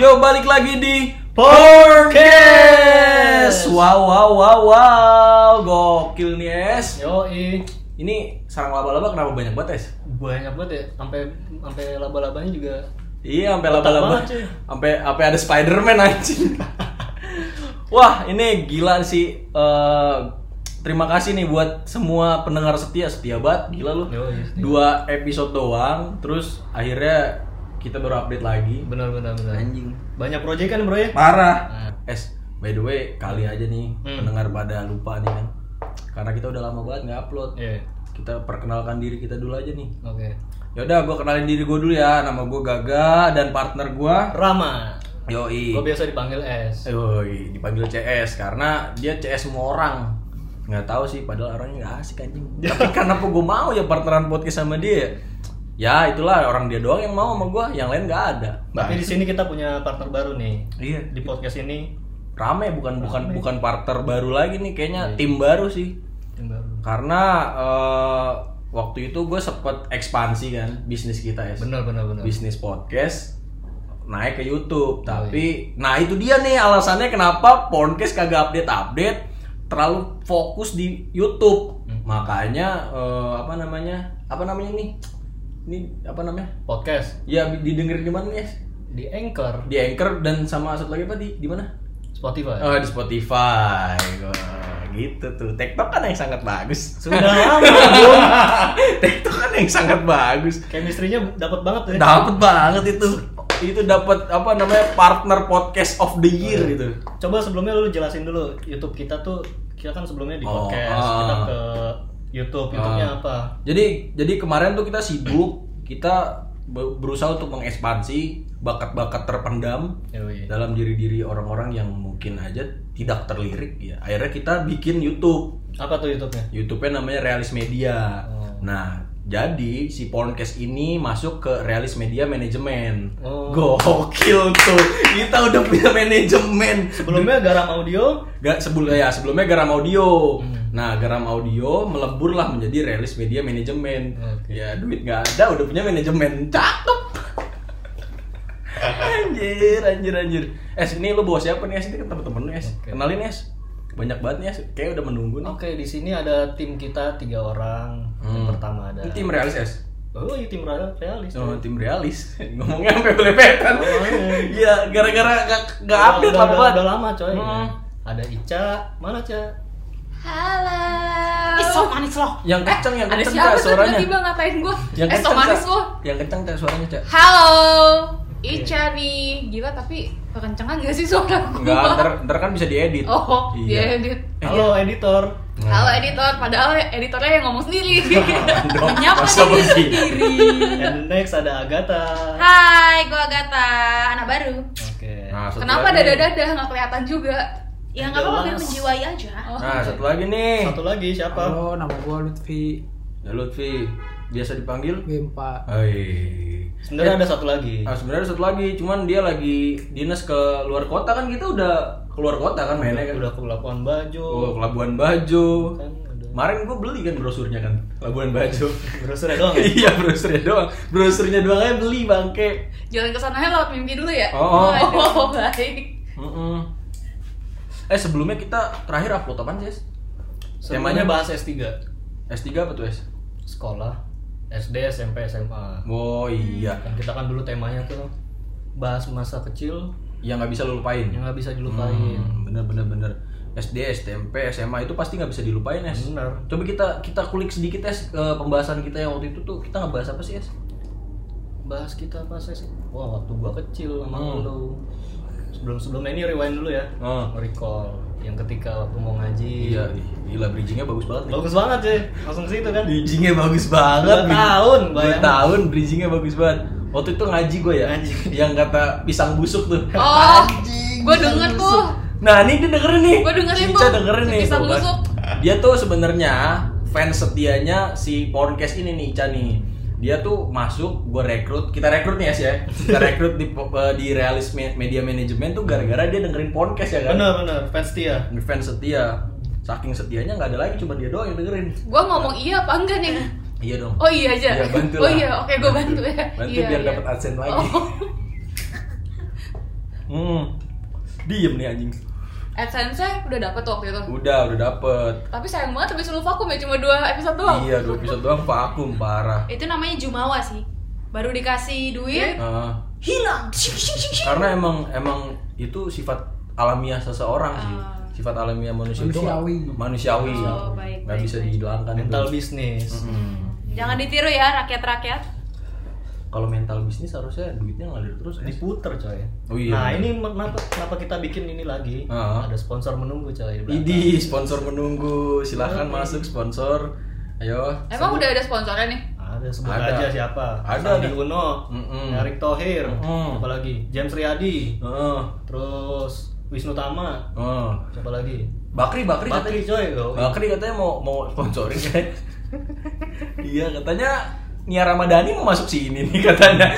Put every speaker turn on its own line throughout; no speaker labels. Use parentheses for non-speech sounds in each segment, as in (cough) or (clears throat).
Yo balik lagi di Podcast. Wow wow wow wow. Gokil nih Es.
Yo, i.
Ini sarang laba-laba kenapa banyak banget Es?
banyak banget ya, sampai sampai laba-labanya juga.
Iya, sampai
Mantap
laba-laba.
banget, cuy.
Sampai sampai ada Spider-Man anjing. Wah, ini gila sih. Eh, terima kasih nih buat semua pendengar setia, setia banget, gila lu.
Yo, i.
Dua episode doang, terus akhirnya kita baru update lagi.
Benar benar benar.
Anjing.
Banyak proyek kan, Bro ya?
Parah. Es, by the way, kali aja nih
Hmm.
pendengar pada lupa nih kan. Karena kita udah lama banget nggak upload.
Iya.
Kita perkenalkan diri kita dulu aja nih.
Oke.
Yaudah, gue kenalin diri gue dulu ya. Nama gue Gaga dan partner gue
Rama.
Yoi.
Gua biasa dipanggil S.
Yoi, dipanggil CS karena dia CS semua orang. Nggak tahu sih, padahal orangnya nggak asik
(laughs)
anjing. Tapi karena apa gue mau ya partneran podcast sama dia. Ya itulah orang dia doang yang mau sama gue, yang lain nggak ada.
Tapi di sini kita punya partner baru nih.
Iya,
Di podcast ini
rame bukan bukan bukan partner baru lagi nih kayaknya
Iya.
tim baru sih
yang baru.
karena eh, waktu itu gue sempet ekspansi kan bisnis kita ya
Benar benar benar.
bisnis podcast naik ke YouTube tapi nah itu dia nih alasannya kenapa podcast kagak update update terlalu fokus di YouTube makanya eh, apa namanya apa namanya nih ini apa namanya
Podcast
ya didengerin di mana nih Yes?
di Anchor,
di Anchor dan sama satu lagi apa di di mana
Spotify.
Oh di Spotify, Wah, gitu tuh. TikTok kan yang sangat bagus.
Sudah (laughs) lama.
(laughs) TikTok kan yang sangat bagus.
Chemistry-nya dapat banget ya.
Dapat banget itu. Itu dapat apa namanya partner podcast of the year gitu.
Coba sebelumnya lu jelasin dulu YouTube kita tuh kita kan sebelumnya di
Oh,
podcast,
ah.
kita ke YouTube, YouTube-nya apa?
Jadi jadi kemarin tuh kita sibuk, kita be- berusaha untuk mengekspansi bakat-bakat terpendam
Yoi.
dalam diri-diri orang-orang yang mungkin aja tidak terlirik ya. Akhirnya kita bikin YouTube.
Apa tuh YouTube-nya?
YouTube-nya namanya Realis Media.
Oh.
Nah, jadi si Porncast ini masuk ke Realis Media Management.
Oh.
Gokil tuh. Kita udah punya manajemen.
Sebelumnya Garam Audio.
Gak sebelum ya sebelumnya Garam Audio.
Hmm.
Nah, Garam Audio meleburlah menjadi Realis Media Management.
Oke.
Ya, duit nggak ada udah punya manajemen.
(laughs)
Cakep. anjir, anjir, anjir. Es, ini lu bawa siapa nih Es? Ini kan temen-temen lu Es.
Oke.
Kenalin Es. Banyak banget nih Es. Kayak udah menunggu nih.
Oke, di sini ada tim kita tiga orang. Yang
Hmm.
pertama ada.
Ini tim Realis Es.
Oh, iya tim Ra- realis.
Oh, tim realis. (laughs) Ngomongnya sampai belepetan.
Oh, iya.
Iya, gara-gara gak, gak
Udah-
update
udah-
lama
udah-
banget.
Udah lama, coy.
Hmm.
Ada Ica, mana Ica?
Halo.
Ih, so manis loh.
Yang kenceng, yang
Eh, Ada
kenceng
siapa
Kak,
tuh
suaranya.
tiba-tiba ngatain gue?
Yang
eh, so
kenceng,
manis
Kak.
lo.
Yang kenceng Kak, suaranya, Cak.
Halo. Ica nih. Gila tapi kekencengan gak sih suara gue?
Enggak, ntar, ntar kan bisa diedit.
Oh,
Iya.
dia edit.
Halo
(laughs)
eh. editor.
Nah.
Halo editor, padahal editornya yang ngomong
(laughs)
sendiri.
Dong,
Menyapa
masa
diri
begitu?
sendiri.
And next ada Agatha.
Hai, gue Agatha, anak baru.
Oke.
Nah, satu
Kenapa
lagi.
dada-dada nggak kelihatan juga? Oh.
Ya nggak apa-apa biar
Jelas.
menjiwai aja.
Nah, satu lagi nih.
Satu lagi siapa?
Halo, nama gue Lutfi
Ya, Lutfi. Biasa dipanggil?
Gempa.
Hai.
Sebenarnya ada satu lagi.
Nah, sebenarnya satu lagi, cuman dia lagi dinas ke luar kota kan kita udah keluar kota kan mainnya kan.
Udah ke Labuan Bajo.
Oh, ke Labuan Bajo.
Kan ada.
Kemarin gue beli kan brosurnya kan, Labuan Bajo.
Browsernya doang ya?
(laughs) iya, brosurnya doang. Brosurnya doang kan. aja beli Iya, bangke.
Jalan ke sana lewat mimpi dulu ya.
Oh.
oh baik.
(laughs) Mm-mm. Eh sebelumnya kita terakhir upload apaan sih? Es?
Temanya bahas S3.
S3 apa tuh es?
Sekolah. SD, SMP, SMA.
Oh iya,
Dan kita kan dulu temanya tuh bahas masa kecil
yang Ya, nggak bisa lo lupain.
yang Ya, nggak bisa dilupain.
Hmm, bener bener bener. SD, SMP, SMA itu pasti nggak bisa dilupain es.
Bener.
Coba kita kita kulik sedikit es ke pembahasan kita yang waktu itu tuh kita ngebahas apa sih es?
Bahas kita apa sih? Wah waktu gua kecil sama
Hmm.
lu. Sebelum sebelumnya ini rewind dulu ya.
Hmm.
Recall yang ketika waktu mau ngaji.
Iya, ih, gila bridgingnya bagus banget nih.
Bagus banget sih. Langsung ke situ kan.
Bridgingnya bagus banget.
Dua tahun,
dua
bayangin.
tahun bridgingnya bagus banget. Waktu itu ngaji gue ya,
Ngaji.
yang kata pisang busuk tuh.
Oh, gue denger tuh.
Nah ini dia dengerin nih.
Gua dengerin
Cica
tuh,
dengerin
si
nih.
pisang
tuh kan.
busuk.
Dia tuh sebenarnya fans setianya si Porncast ini nih Ica nih. Dia tuh masuk, gue rekrut, kita rekrut nih ya sih ya.
(laughs)
Kita rekrut di eh, di Realis Me- Media Management tuh gara-gara dia dengerin Porncast ya kan.
Bener bener. Fans setia.
Fans setia. Saking setianya nggak ada lagi, cuma dia doang yang dengerin.
Gue ngomong iya apa enggak nih?
Iya dong.
Oh iya aja.
Iya, bantu
oh
lah.
iya, oke gue bantu ya.
Bantu
Iya,
biar
iya.
dapat adsense lagi.
Oh.
Hmm. Diem nih anjing.
AdSense udah dapet tuh waktu itu.
Udah, udah dapet.
Tapi sayang banget habis lu vakum ya cuma dua episode doang.
Iya, dua episode doang vakum parah.
Itu namanya Jumawa sih. Baru dikasih duit,
Ah,
hilang. Shik, shik, shik, shik.
karena emang emang itu sifat alamiah seseorang sih.
Ah.
Sifat alamiah manusia itu
Manusiawi.
manusiawi.
Oh, baik,
Nggak
baik,
bisa
baik.
dihilangkan.
mental
itu.
bisnis
Mm-mm.
Jangan ditiru ya rakyat-rakyat.
Kalau mental bisnis harusnya duitnya ngalir terus. eh. Es.
diputer coy
Oh iya,
nah
bener.
ini men- kenapa kenapa kita bikin ini lagi
Ah.
ada sponsor menunggu coy di belakang.
Idi sponsor menunggu, silahkan masuk sponsor. Ayo.
Emang udah ada sponsornya nih?
ada sebut
Ada.
aja siapa
Ada,
Sandi
ada.
Uno
Mm-mm.
Erick Thohir
Mm-mm.
siapa lagi James Riyadi
Heeh.
terus Wisnu Tama
heeh.
siapa lagi
Bakri, Bakri,
Bakri
katanya.
coy loh
Bakri katanya mau mau sponsorin kan? iya katanya Nia Ramadhani mau masuk sini nih katanya.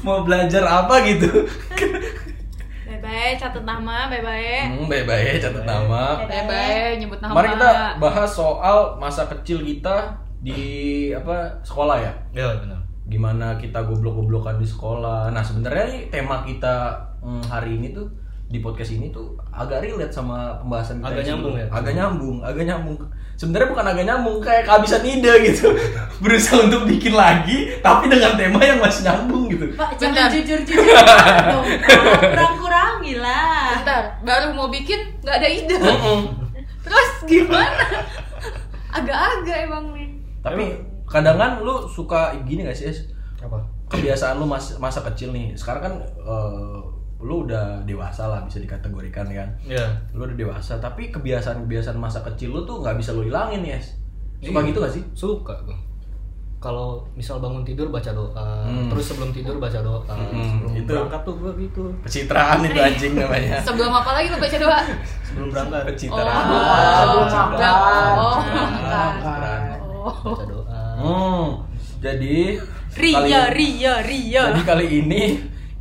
mau belajar apa gitu?
Bye-bye, catat nama, bye-bye.
hmm, bye-bye catat nama.
Bye-bye.
Bebe, nyebut nama.
Mari kita bahas soal masa kecil kita di apa sekolah ya.
ya benar
Gimana kita goblok-goblokan di sekolah. Nah, sebenarnya nih, tema kita mm, hari ini tuh di podcast ini tuh agak relate sama pembahasan kita.
Agak
yang
nyambung
sebelum-
ya?
Agak nyambung, agak nyambung. Sebenarnya bukan agak nyambung, kayak kehabisan ide gitu. (laughs) Berusaha untuk bikin lagi tapi dengan tema yang masih nyambung gitu.
Pak,
Bentar.
jangan ya. jujur-jujur dong. Pak. Kurang-kurangi lah.
Bentar, baru mau bikin nggak ada ide.
Mm-mm.
Terus gimana? Agak-agak emang nih.
Tapi kadang kan lu suka gini gak sih? Es?
apa
kebiasaan lu mas- masa kecil nih sekarang kan eh, lu udah dewasa lah bisa dikategorikan kan
ya
lu udah dewasa tapi kebiasaan-kebiasaan masa kecil lu tuh nggak bisa lu hilangin ya suka
Iya.
gitu gak sih
suka gue kalau misal bangun tidur baca doa
Hmm.
terus sebelum tidur baca doa
Hmm,
sebelum
itu.
berangkat tuh gue gitu
pencitraan itu anjing namanya
Sebelum apa lagi lu baca doa?
sebelum berangkat
pencitraan
Oh,
Pencitraan.
pencitraan. Oh,
Pencitraan.
pencitraan.
Oh.
baca doa
Hmm, jadi
Ria,
kali-
Ria, Ria.
Jadi kali ini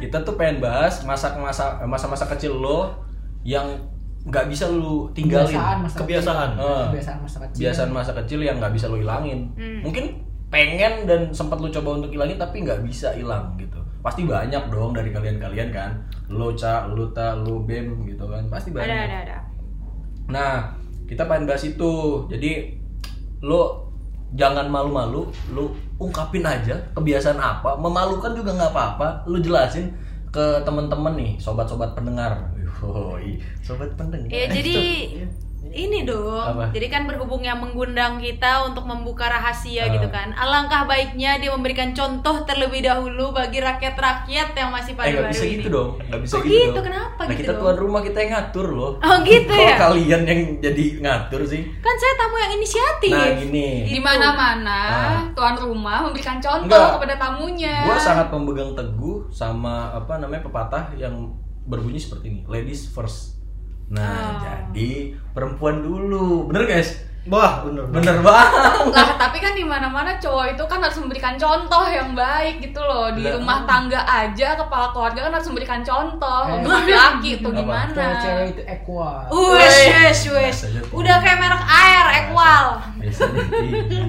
kita tuh pengen bahas masa masa masa-masa kecil lo yang nggak bisa lu tinggalin.
kebiasaan masa
Kebiasaan.
kecil.
Eh.
kebiasaan masa kecil
kebiasaan masa kecil yang nggak bisa lo hilangin
Hmm.
mungkin pengen dan sempat lo coba untuk hilangin tapi nggak bisa hilang gitu pasti banyak dong dari kalian-kalian kan lo ca lo ta lo bem gitu kan pasti banyak
Ada, ada, ada.
nah kita pengen bahas itu jadi lo jangan malu-malu lo ungkapin aja kebiasaan apa memalukan juga nggak apa-apa lo jelasin ke temen-temen nih sobat-sobat pendengar Yoi, sobat pendengar
Ya jadi ini dong.
Apa?
Jadi kan berhubung yang menggundang kita untuk membuka
Ah.
rahasia gitu kan. Alangkah baiknya dia memberikan contoh terlebih dahulu bagi rakyat-rakyat yang
Eh
masih pada
nggak
baru
bisa
ini.
gitu dong, nggak bisa
Kok
gitu,
gitu?
dong.
Kenapa
nah,
gitu
Kita
dong?
tuan rumah kita yang ngatur loh.
Oh, gitu
Kalau
ya?
kalian yang jadi ngatur sih.
Kan saya tamu yang inisiatif.
Nah gini,
Di mana-mana
Ah.
tuan rumah memberikan contoh
Enggak.
kepada tamunya.
gue sangat pemegang teguh sama apa namanya pepatah yang berbunyi seperti ini, ladies first.
Oh.
Nah jadi perempuan dulu, bener guys?
wah bener
Bener banget.
lah tapi kan di mana mana cowok itu kan harus memberikan contoh yang baik gitu loh di
Lah.
rumah tangga aja kepala keluarga kan harus memberikan contoh
Eh.
untuk laki itu
Apa?
gimana
cewek itu equal
Wes, wes, wes.
Bahasa Jepang.
Udah kayak merek air, equal.
Biasanya tinggi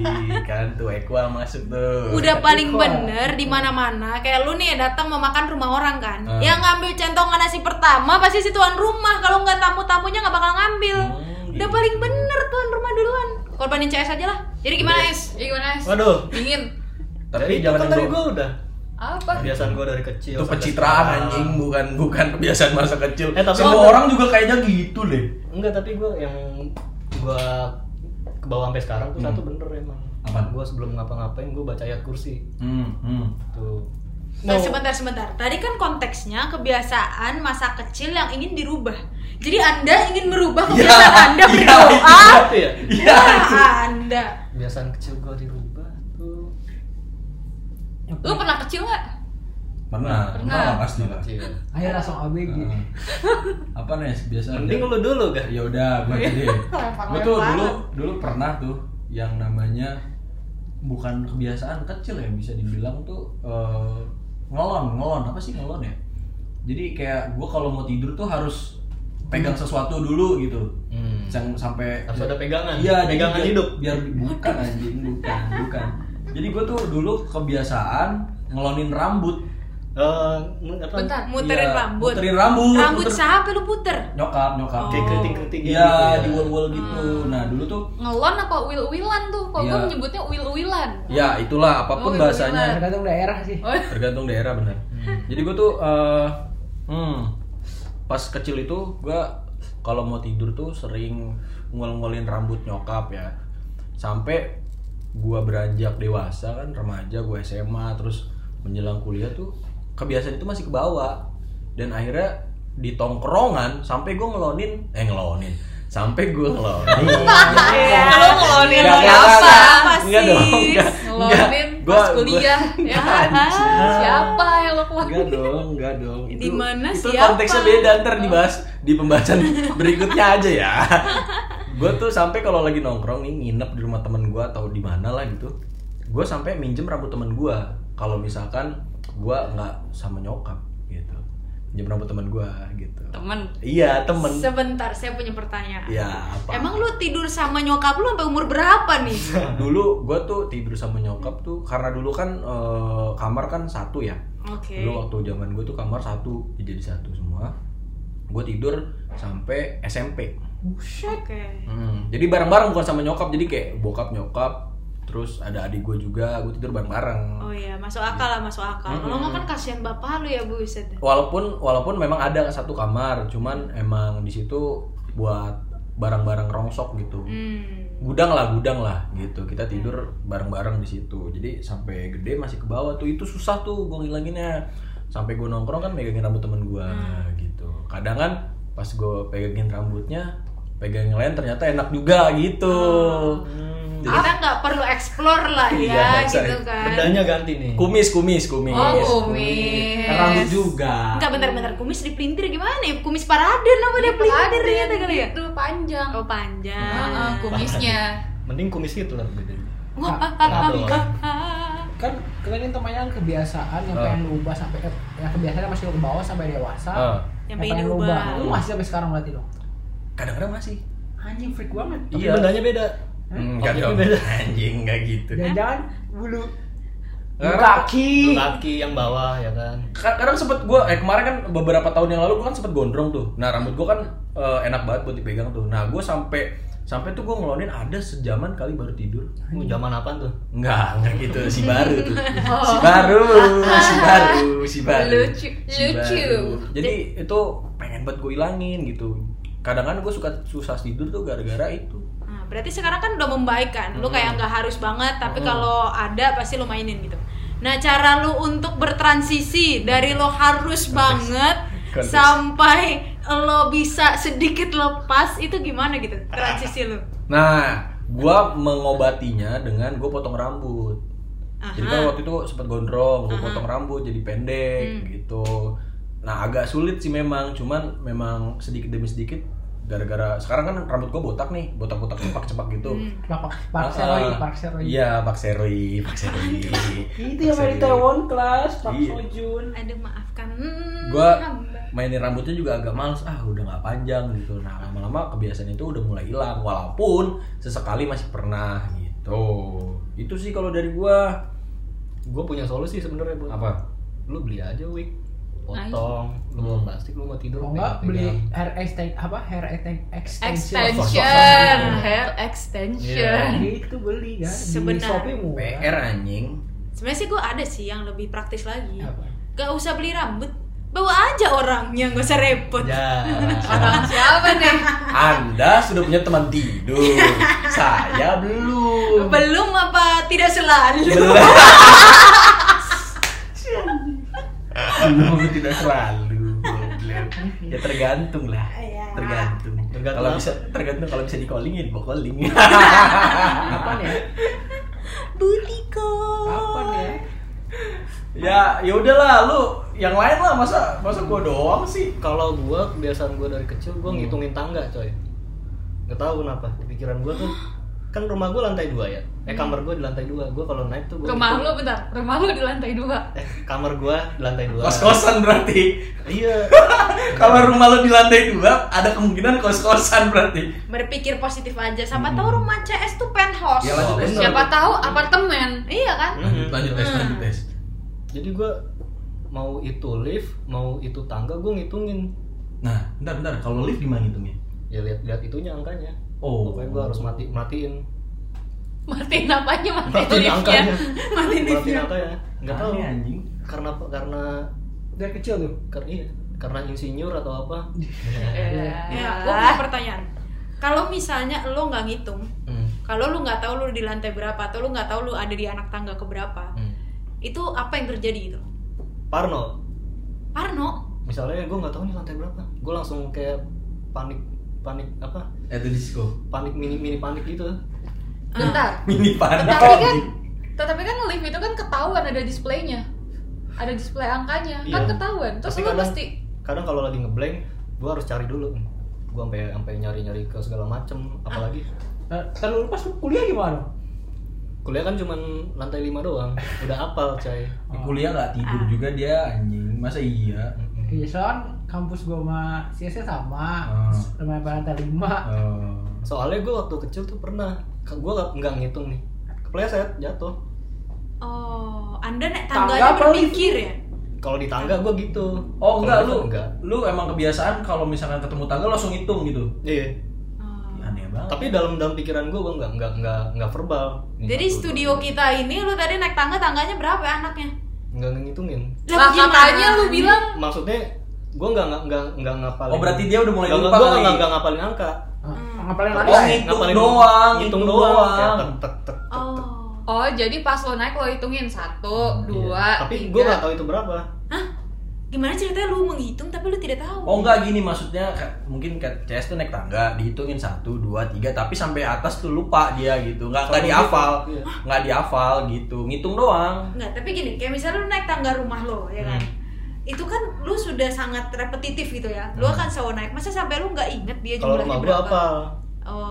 kan tuh equal masuk tuh.
Udah paling
Equal.
bener di mana-mana. Kayak lu nih datang mau makan rumah orang kan.
Ah.
Yang ngambil centongan nasi pertama pasti si tuan rumah. Kalau nggak tamu-tamunya nggak bakal ngambil.
Hmm,
Udah
gitu.
paling bener tuan rumah duluan. Korbanin CS aja lah. Jadi gimana, Es?
ya gimana Es?
waduh
dingin
Tapi
jangan
jangan
kan tadi
yang
gue udah
apa
kebiasaan gue dari kecil
itu
Iya, sampai
pencitraan
sekarang.
anjing bukan bukan kebiasaan masa kecil
Eh, tapi-
semua orang juga kayaknya gitu deh
enggak tapi gue yang gue ke bawah sampai sekarang tuh
Hmm.
satu bener emang
Apa?
gue sebelum ngapa-ngapain gue baca ayat kursi
hmm, hmm.
tuh
Nah,
(laughs)
sebentar sebentar. Tadi kan konteksnya kebiasaan masa kecil yang ingin dirubah. Jadi Anda ingin merubah kebiasaan Anda
iya,
berdoa.
itu ya
iya itu.
Ya, Anda.
kebiasaan kecil gue dirubah tuh
lu pernah kecil nggak
pernah pernah
Nah.
lah, pasti lah
kecil
akhirnya langsung ABG
Heeh.
(laughs)
apa nih kebiasaan
mending lu dulu gak
ya udah gue
(laughs)
jadi gue tuh
Lempar-lemparan.
dulu dulu pernah tuh yang namanya bukan kebiasaan kecil ya bisa dibilang tuh eh, ngelon ngelon apa sih ngelon ya jadi kayak gue kalau mau tidur tuh harus pegang sesuatu dulu gitu
Hmm.
Sang- sampai
Harus ada pegangan.
iya jadi
Pegangan
biar-
hidup.
biar bukan anjing bukan bukan jadi gue tuh dulu kebiasaan ngelonin rambut
Eh, apa?
Bentar.
Muterin
Iya,
rambut.
muterin rambut
Rambut
muter-
siapa lu puter?
nyokap nyokap
Oh.
Kayak keriting-keriting gitu
iya
ya. Hmm.
di wall wall gitu nah dulu tuh
Ngelon apa uil-uilan tuh? Kok gue
Iya.
menyebutnya uil-uilan?
ya itulah apapun
Oh, iya,
bahasanya
Tergantung daerah sih.
Oh,
tergantung daerah benar
Hmm.
jadi gue tuh eh, hmm, pas kecil itu gue kalau mau tidur tuh sering ngol-ngolin rambut nyokap ya sampai gue beranjak dewasa kan remaja gue SMA terus menjelang kuliah tuh kebiasaan itu masih kebawa dan akhirnya di tongkrongan sampai gue ngelonin eh ngelonin sampai gue
(laughs)
ngelonin
Lu
Iya.
ngelonin
Nggak, nggak,
apa?
nggak.
Apa
Nggak dong,
sih?
nggak.
ngelonin
Iya. Gua-
pas
gua-
kuliah ya kan? Siapa yang lo keluarin?
Enggak dong, enggak dong. Itu,
Di mana
itu
siapa?
konteksnya beda ntar dibahas di pembahasan (laughs) berikutnya aja ya. gue tuh sampai kalau lagi nongkrong nih nginep di rumah temen gue atau di mana lah gitu, gue sampai minjem rambut temen gue. Kalau misalkan gue nggak sama nyokap gitu, minjem rambut temen gue gitu.
Temen.
Iya temen.
Sebentar, saya punya pertanyaan.
Iya apa?
Emang lu tidur sama nyokap lu sampai umur berapa
(laughs)
nih?
dulu gue tuh tidur sama nyokap tuh karena dulu kan eh, kamar kan satu ya.
Oke.
Dulu waktu zaman gue tuh kamar satu, jadi satu semua. Gue tidur sampai SMP.
Oke.
Hmm, Jadi bareng-bareng bukan sama nyokap, jadi kayak bokap nyokap, terus ada adik gue juga, gue tidur bareng-bareng.
Oh iya, masuk akal lah, masuk akal. Kalau nggak kan kasihan bapak lu ya, Bu Iset.
Oh, Walaupun walaupun memang ada satu kamar, cuman emang di situ buat barang-barang rongsok gitu.
Hmm.
Gudang lah, gudang lah gitu. Kita tidur bareng-bareng di situ. Jadi sampai gede masih ke bawah tuh itu susah tuh gue ngilanginnya. Sampai gue nongkrong kan megangin rambut temen gue gitu. Kadang kan pas gue pegangin rambutnya, pegang yang lain ternyata enak juga gitu. Jadi
Kita nggak perlu explore lah
Iya,
ya,
nggak usah.
gitu kan.
Bedanya ganti nih.
Kumis, kumis, kumis.
Oh, kumis.
Rambut juga.
Enggak bentar-bentar kumis dipelintir gimana ya? Kumis parade
Iya,
namanya pelintir
Peladen
ternyata kali ya.
gitu, panjang.
Oh panjang.
Heeh, kumisnya.
Mending kumis gitu lah bedanya.
Wah,
Kenapa?
Kan kita ini temannya kebiasaan yang pengen
Ah.
lu ubah sampai eh, yang kebiasaan masih lu ke bawah sampai dewasa.
Eh,
Yang pengen
lu
diubah.
Lu masih sampai sekarang berarti dong.
Kadang-kadang masih.
Anjing freak banget.
Tapi
Iya.
bedanya beda.
Enggak
Objeknya
dong.
beda.
Anjing enggak gitu.
Jangan-jangan bulu
Karena-
kaki.
Laki yang bawah ya kan.
Ka- kadang sempet gue eh kemarin kan beberapa tahun yang lalu gue kan sempet gondrong tuh nah rambut gue kan eh, enak banget buat dipegang tuh nah gue sampai sampai tuh gue ngelonin ada sejaman kali baru tidur
Mau zaman apaan tuh?
nggak nggak gitu si baru tuh si baru
(laughs)
si baru si baru
Oh. Lucu,
si
lucu.
baru. jadi itu pengen banget gue ilangin gitu kadang kadang gue suka susah tidur tuh gara-gara itu
Nah, berarti sekarang kan udah membaik kan. Lu kayak nggak harus banget, tapi kalau ada pasti lu mainin gitu. Nah, cara lu untuk bertransisi dari lo harus banget
Konteks.
sampai lo bisa sedikit lepas itu gimana gitu transisi lu?
Nah, gua mengobatinya dengan gue potong rambut. Jadi kan waktu itu sempat gondrong, gue potong rambut jadi pendek gitu. Nah, agak sulit sih memang, cuman memang sedikit demi sedikit gara-gara sekarang kan rambut gue botak nih, botak-botak cepak-cepak gitu.
Lapak
Ah,
parseroi,
ah.
parseroi.
Iya, Pakseroi, Pakseroi.
(laughs) Itu yang dari Taiwan kelas, Pak
Iya.
Sojun.
(laughs) Aduh, maafkan. Hmm,
Gue
hamba.
mainin rambutnya juga agak males, ah udah nggak panjang gitu. Nah, lama-lama kebiasaan itu udah mulai hilang, walaupun sesekali masih pernah gitu. Itu sih kalau dari gua
Gue punya solusi sebenarnya buat.
apa?
Lu beli aja wig. Potong, lu mau plastik, lu mau tidur.
Oh, Iya.
Kalau nggak beli
pegang-pegang.
hair extension apa hair exten- extension.
Extension, hair extension.
Iya.
Itu beli kan di
Sebenarnya.
Shopee murah.
PR anjing.
Sebenarnya sih gue ada sih yang lebih praktis lagi.
Apa?
Gak usah beli rambut, bawa aja orangnya, gak usah repot.
(laughs)
Ya.
Orang siapa nih?
Anda sudah punya teman tidur. Saya belum.
Belum apa tidak selalu.
Belum. Belum (laughs) tidak selalu. belum. Ya tergantung lah. Tergantung.
Tergantung
Kalau
apa?
bisa tergantung kalau bisa di calling ya di calling. (laughs)
Kapan ya?
Butiko.
Kapan ya?
ya ya udahlah lu yang lain lah masa masa gua doang sih.
Kalau gue kebiasaan gue dari kecil
Hmm.
gue ngitungin tangga coy. Gak tahu kenapa di pikiran gue tuh kan rumah gue lantai dua ya. Eh kamar gue di lantai dua. Gue kalau naik tuh gue
Hmm. Rumah lu bentar, rumah lu di lantai dua.
Eh kamar gue di lantai dua.
Kos-kosan
(laughs)
berarti. (laughs)
Iya.
Kalau rumah lu di lantai dua, ada kemungkinan kos-kosan berarti.
Berpikir positif aja. Sama tahu rumah CS tuh penthouse.
Ya, lanjut,
Bener. Hmm.
Siapa tahu apartemen. Iya kan?
Lanjut, lanjut tes, lanjut tes.
Jadi gue mau itu lift mau itu tangga gue ngitungin
Nah, bentar bentar kalau lift gimana ngitungnya?
ya lihat-lihat itunya angkanya
Oh.
pokoknya gue harus mati matiin
Martin apanya Martin
Martin
liftnya
angkanya.
Martin
matiin
liftnya
angkanya nggak tahu
Aneh, anjing.
karena apa- karena
dari kecil tuh
karena iya, karena insinyur atau apa
Iya.
Iya.
ya gue punya pertanyaan kalau misalnya lo nggak ngitung
Hmm,
kalau lu nggak tahu lu di lantai berapa atau lu nggak tahu lu ada di anak tangga keberapa
hmm.
itu apa yang terjadi gitu
Parno
Parno
misalnya gue nggak tahu nih lantai berapa gue langsung kayak panik panik apa
Eh, itu disco. (laughs)
panik mini mini panik gitu
Ah.
Bentar.
Mini panik.
Tetapi kan, tetapi kan lift itu kan ketahuan ada displaynya, ada display angkanya,
Iya.
kan ketahuan. Terus
Tapi
lu
kadang-
mesti
kadang kalau lagi ngeblank gue harus cari dulu gue sampai sampai nyari nyari ke segala macem apalagi
Ah.
Eh, terlalu pas kuliah gimana
kuliah kan cuman lantai lima doang udah apal cai
Di kuliah nggak tidur juga dia anjing. Masa iya?
Hmm,
Iya, soalnya kampus gua sama CS sama,
Hmm.
lumayan banget ada lima.
Eh,
soalnya gue waktu kecil tuh pernah gue nggak ngitung nih kepleset jatuh
oh anda naik
Tangga
tangganya
apa
berpikir ya
kalau di tangga gue gitu
Oh
Kalau
enggak lu,
di lift enggak
lu emang kebiasaan kalau misalkan ketemu tangga langsung hitung gitu.
iya
Oh.
Ya, aneh banget.
tapi dalam dalam pikiran gue gue nggak nggak nggak nggak verbal Ini
Ah. jadi
satu,
studio kita ini lu tadi naik tangga tangganya berapa ya anaknya
nggak ngitungin
lah
gimana?
katanya lu bilang
maksudnya gue nggak nggak nggak nggak ngapalin
Oh berarti dia udah mulai
nggak
lupa
nggak- gua
kali.
nggak nggak ngapalin angka
Hmm. Ngapalin
Oh,
lagi.
ngitung
Ngapalin-
doang,
ngitung
ngitung
doang
doang.
Kayak tek tek tek
oh
Oh jadi pas lo naik lo hitungin satu, dua,
Iya. tapi
tiga.
gue nggak tahu itu berapa
Hah? gimana ceritanya lu menghitung tapi lu tidak tahu
Oh enggak gini maksudnya ka- mungkin kayak CS tuh naik tangga dihitungin satu dua tiga tapi sampai atas tuh lupa dia gitu nggak nggak
Selalu
dihafal
gitu, iya.
nggak dihafal gitu ngitung doang
Nggak, tapi gini, kayak misalnya lu naik tangga rumah lo, ya kan?
Hmm.
Itu kan lu sudah sangat repetitif gitu ya. Lu akan selalu naik. Masa sampai lu nggak inget dia
kalau rumah
jumlahnya
gue
berapa?
apal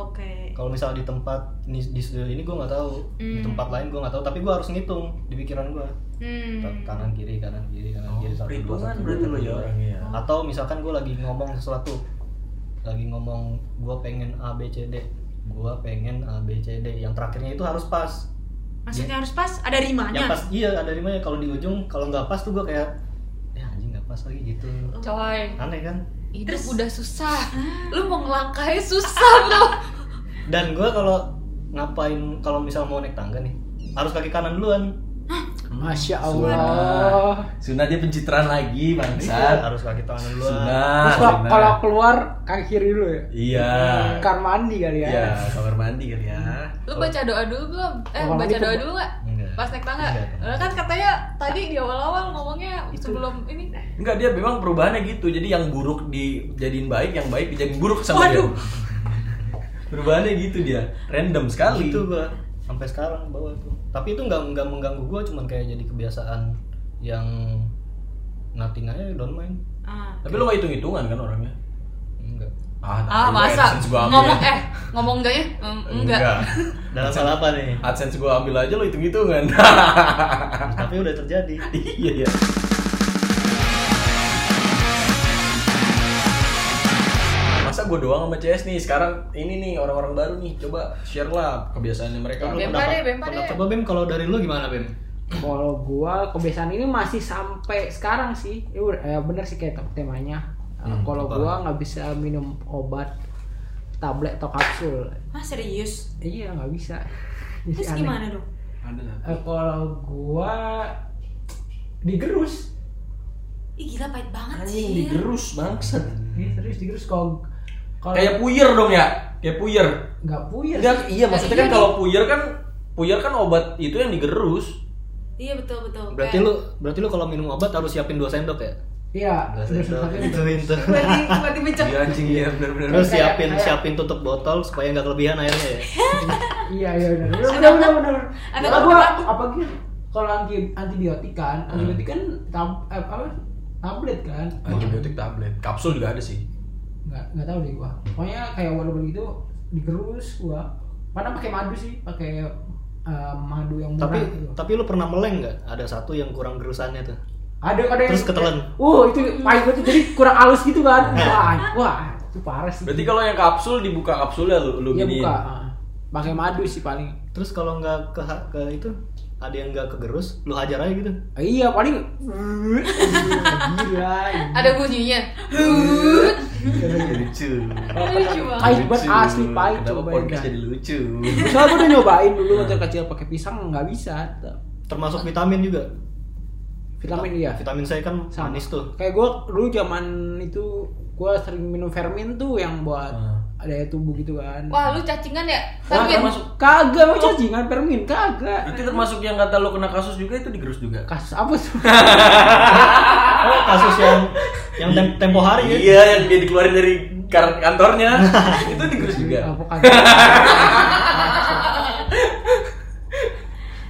Oke.
kalau misalnya di tempat di, di studio ini gue nggak tahu di
Hmm.
tempat lain gue nggak tahu tapi gue harus ngitung di pikiran gue
Hmm.
kanan kiri kanan
Oh,
kiri kanan kiri satu dua
perhitungan
satu dua,
berarti
satu,
lo ya
dua.
orangnya
atau misalkan gue lagi ngomong sesuatu lagi ngomong gue pengen A B C D gue pengen A B C D yang terakhirnya itu harus pas
Maksudnya harus pas ada
yang
rimanya.
pas iya ada rimanya kalau di ujung kalau nggak pas tuh gue kayak ya anjing nggak pas lagi gitu
Coy,
aneh kan
hidup
Terus- Ah.
udah susah. Lu mau ngelangkai susah lo.
dan gue kalau ngapain kalau misal mau naik tangga nih harus kaki kanan duluan
Masya
Sunnah.
Allah.
Sunnah dia pencitraan lagi
Iya,
bangsa
harus kaki kanan duluan
Sunnah
Terus kalau-
Sunnah.
kalau keluar kaki kiri dulu ya.
Ah, Iya
Kamar mandi kali ya.
Iya kamar mandi kali ya
Lu baca doa dulu belum? Eh
Orang
baca
itu
doa
gua-
dulu nggak?
Nggak.
Pas naik tangga?
Iya.
Nggak.
Lah kan katanya tadi di awal-awal ngomongnya sebelum ini.
Nah.
Enggak dia memang perubahannya gitu jadi yang buruk dijadiin baik yang baik dijadiin buruk sama dia
Waduh.
Perubahannya gitu dia random sekali
Gitu,
itu gue sampai sekarang bawa tuh tapi itu nggak nggak mengganggu gue cuman kayak jadi kebiasaan yang nothing aja don't mind
Ah.
Tapi lo gak hitung-hitungan kan orangnya
enggak
Ah,
Ah
tapi gua
masa
AdSense gua ambil.
ngomong eh ngomong enggaknya? Em, enggak.
dalam hal apa nih
AdSense gua ambil aja lo hitung-hitungan. (laughs)
tapi udah terjadi
iya iya. Masa gua doang sama CS nih sekarang ini nih orang-orang baru nih coba share lah kebiasaannya mereka.
Kalau
Bem
pendapat-
pade, bem pade.
pendapat- coba bem kalau dari lu gimana bem
Kalau gua kebiasaan ini masih sampai sekarang sih. Ya udah, eh, bener sih kayak tem- temanya. Eh,
Hmm,
kalau
apa?
gua nggak bisa minum obat tablet atau kapsul.
Hah, serius?
Iya nggak bisa.
Terus
Aneh.
gimana dong?
Eh, kalau gua digerus.
Ih gila pahit banget
Anjing
sih.
digerus bangsat.
Iya serius digerus kalau kalau
Kayak puyer dong ya. Kayak puyer.
nggak puyer.
Enggak, iya maksudnya kan
Iya,
kalau puyer kan puyer kan obat itu yang digerus.
Iya betul betul.
berarti lu berarti lu kalau minum obat harus siapin dua sendok ya
Iya.
dua
digerus
sendok
(laughs) tapi-
(laughs) itu itu
Lagi lagi becek.
Iya anjing iya benar-benar.
terus
Kayak-
siapin
kayak-
siapin tutup botol supaya nggak kelebihan airnya ya
Iya iya benar. Benar benar benar. benar.
Ada
Apa
apa?
apa gitu? Kalau anti antibiotik kan, antibiotik kan tab, eh, apa tablet kan?
Antibiotik tablet. Kapsul juga ada sih.
Nggak nggak tahu deh gua. Pokoknya kayak walaupun itu digerus gua. Padahal pakai madu sih, pakai eh, madu yang murah
tapi
gitu.
tapi lu pernah meleng nggak ada satu yang kurang gerusannya tuh
Ada ada yang-
terus ketelan. Iya.
Uh, itu pahit banget tuh, jadi kurang halus gitu
(laughs)
kan. Wah, wah, itu parah sih.
Berarti kalau yang kapsul dibuka kapsulnya lu lu (laughs)
Iya,
giniin.
buka. ah. pakai madu sih paling
Terus kalau nggak ke ke itu ada yang nggak kegerus, lu hajar aja gitu.
Eh, iya paling gila
Ada bunyinya.
Iya, lucu
Lucu banget.
Pahit banget, asli pahit,
Kenapa
coba
podcast
ya.
jadi lucu
(laughs) soalnya gue udah nyobain dulu waktu kecil pakai pisang nggak bisa
Termasuk vitamin juga.
vitamin iya
Vitamin C kan
Sama.
manis tuh.
kayak gue dulu zaman itu gue sering minum Fermin tuh yang buat
Ah.
Hmm.
ada tubuh gitu kan
Wah, lu cacingan ya?
Wah,
Tapi
termasuk
kagak mau cacingan Fermin kagak
itu termasuk yang kata lu kena kasus juga itu digerus juga
kasus apa tuh
Oh, kasus yang yang tem- tempo hari ya.
iya yang dia dikeluarin dari kar-
(laughs)
kantornya itu digerus juga
apa
(laughs)
kagak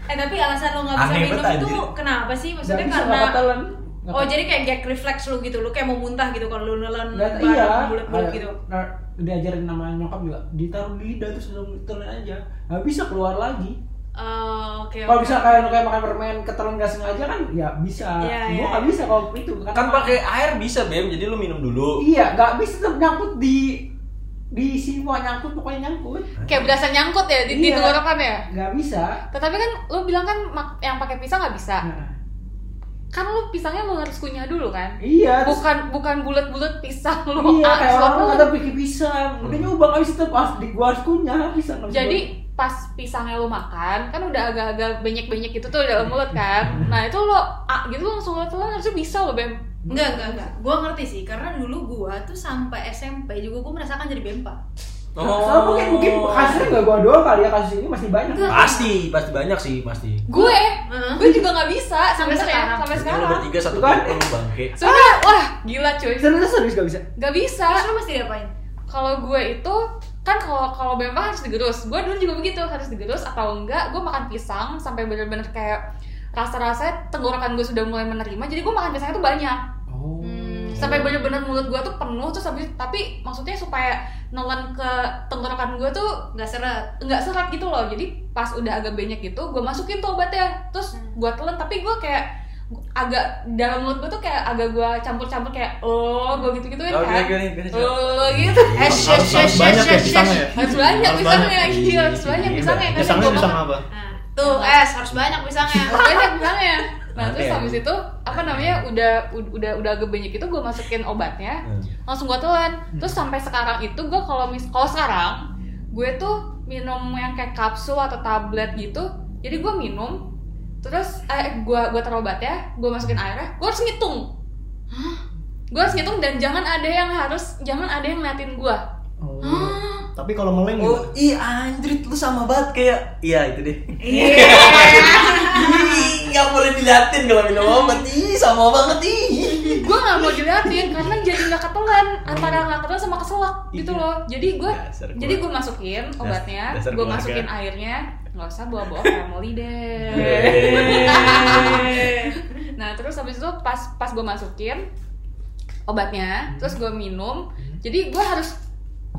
Eh tapi alasan lo nggak bisa
Aneh
minum
banget,
itu
anjir.
kenapa sih? Maksudnya
Nggak bisa,
karena
nggak telan. Nggak
Oh
telan.
jadi kayak gag refleks lu gitu, lu kayak mau muntah gitu kalau lu nelan
Nggak-
barang
iya
bulat-bulat
Ada-
gitu.
na- diajarin sama nyokap juga ditaruh di lidah terus langsung ditelan aja nggak bisa keluar lagi
Eh, Oke.
kalau
oke.
bisa kayak kayak makan permen ketelan nggak sengaja kan ya bisa
Iya,
Gua
iya.
nggak bisa kalau itu
kan pakai air bisa bem jadi lu minum dulu
iya nggak bisa tetap nyangkut di di sini wah nyangkut pokoknya nyangkut
kayak berasa nyangkut ya di, di
Iya.
tenggorokan ya?
nggak bisa
Tetapi kan lu bilang kan mak- yang pakai pisang nggak bisa.
Nah,
Kan lu pisangnya lu harus kunyah dulu kan?
iya terus-
Bukan bukan bulat-bulat pisang lu.
iya
ah,
kayak orang
suatu-
kata pikir pisang udah nyoba nggak bisa tetap harus di gua harus kunyah pisang nggak bisa
Jadi pas pisangnya lu makan kan udah agak-agak benyek-benyek gitu tuh dalam mulut
Iya.
kan. Nah, itu lo ah, gitu lo langsung lo telan harusnya bisa lo Bem.
Enggak, enggak, enggak. Gua ngerti sih, karena dulu gua tuh sampai SMP juga gua merasakan jadi bempa.
gua.
Oh.
soalnya mungkin mungkin kasusnya nggak gua doang kali ya kasus ini masih banyak
Enggak.
pasti pasti banyak sih pasti
Gue,
Heeh.
gue juga nggak bisa sampai
Sampai
sekarang,
sekarang.
sampai
Jadi lu
sekarang.
bertiga satu
Bukan.
tim lu bangke
Sudah, wah gila cuy.
serius serius nggak bisa
Gak bisa.
Terus lu mesti diapain?
Kalau gue itu kan kalau kalau memang harus digerus. Gue dulu juga begitu harus digerus atau enggak gue makan pisang sampai bener-bener kayak rasa-rasa tenggorokan gue sudah mulai menerima. Jadi gue makan pisangnya tuh banyak. Hmm,
oh
Sampai bener-bener mulut gue tuh penuh terus habis tapi maksudnya supaya nelen ke tenggorokan gue tuh
Enggak seret.
nggak serat gitu loh jadi pas udah agak banyak gitu gue masukin tuh obatnya terus gue telan tapi gue kayak agak dalam mulut gue tuh kayak agak gue campur-campur kayak oh gue gitu gituin
Oh,
kan
gini, gini, gini, coba.
oh gitu
Eh, shh,
Harus-
shh,
harus
shh,
banyak ya
shh,
pisangnya
shh.
ya.
harus banyak
Harus
pisangnya
banyak.
iya harus banyak
Iya,
pisangnya kan
Pisangnya
yang gua
pisang
makan.
apa?
Nah, tuh es harus banyak
(laughs)
pisangnya.
Harus banyak pisangnya nah
Nanti
terus
ya.
habis itu apa namanya udah ud- udah udah agak banyak itu gue masukin obatnya
Hmm.
langsung gue telan terus sampai sekarang itu gue kalau mis kalau sekarang gue tuh minum yang kayak kapsul atau tablet gitu jadi gue minum terus eh gue gue taruh obatnya gue masukin airnya gue harus ngitung gue harus ngitung dan jangan ada yang harus jangan ada yang ngeliatin gue
oh.
Ah.
Tapi kalau meleng
oh
gitu.
iya anjrit lu sama banget kayak iya itu deh (laughs) Ih, nggak boleh diliatin kalau minum obat ih sama banget ih
gue nggak mau diliatin karena jadi nggak ketelan antara nggak ketelan sama keselak gitu loh jadi gue
Iya. Dasar keluarga.
jadi gue masukin obatnya
Dasar
gue
keluarga.
masukin airnya nggak usah bawa-bawa family
Iya.
deh nah terus habis itu pas pas gue masukin obatnya terus gue minum jadi gue harus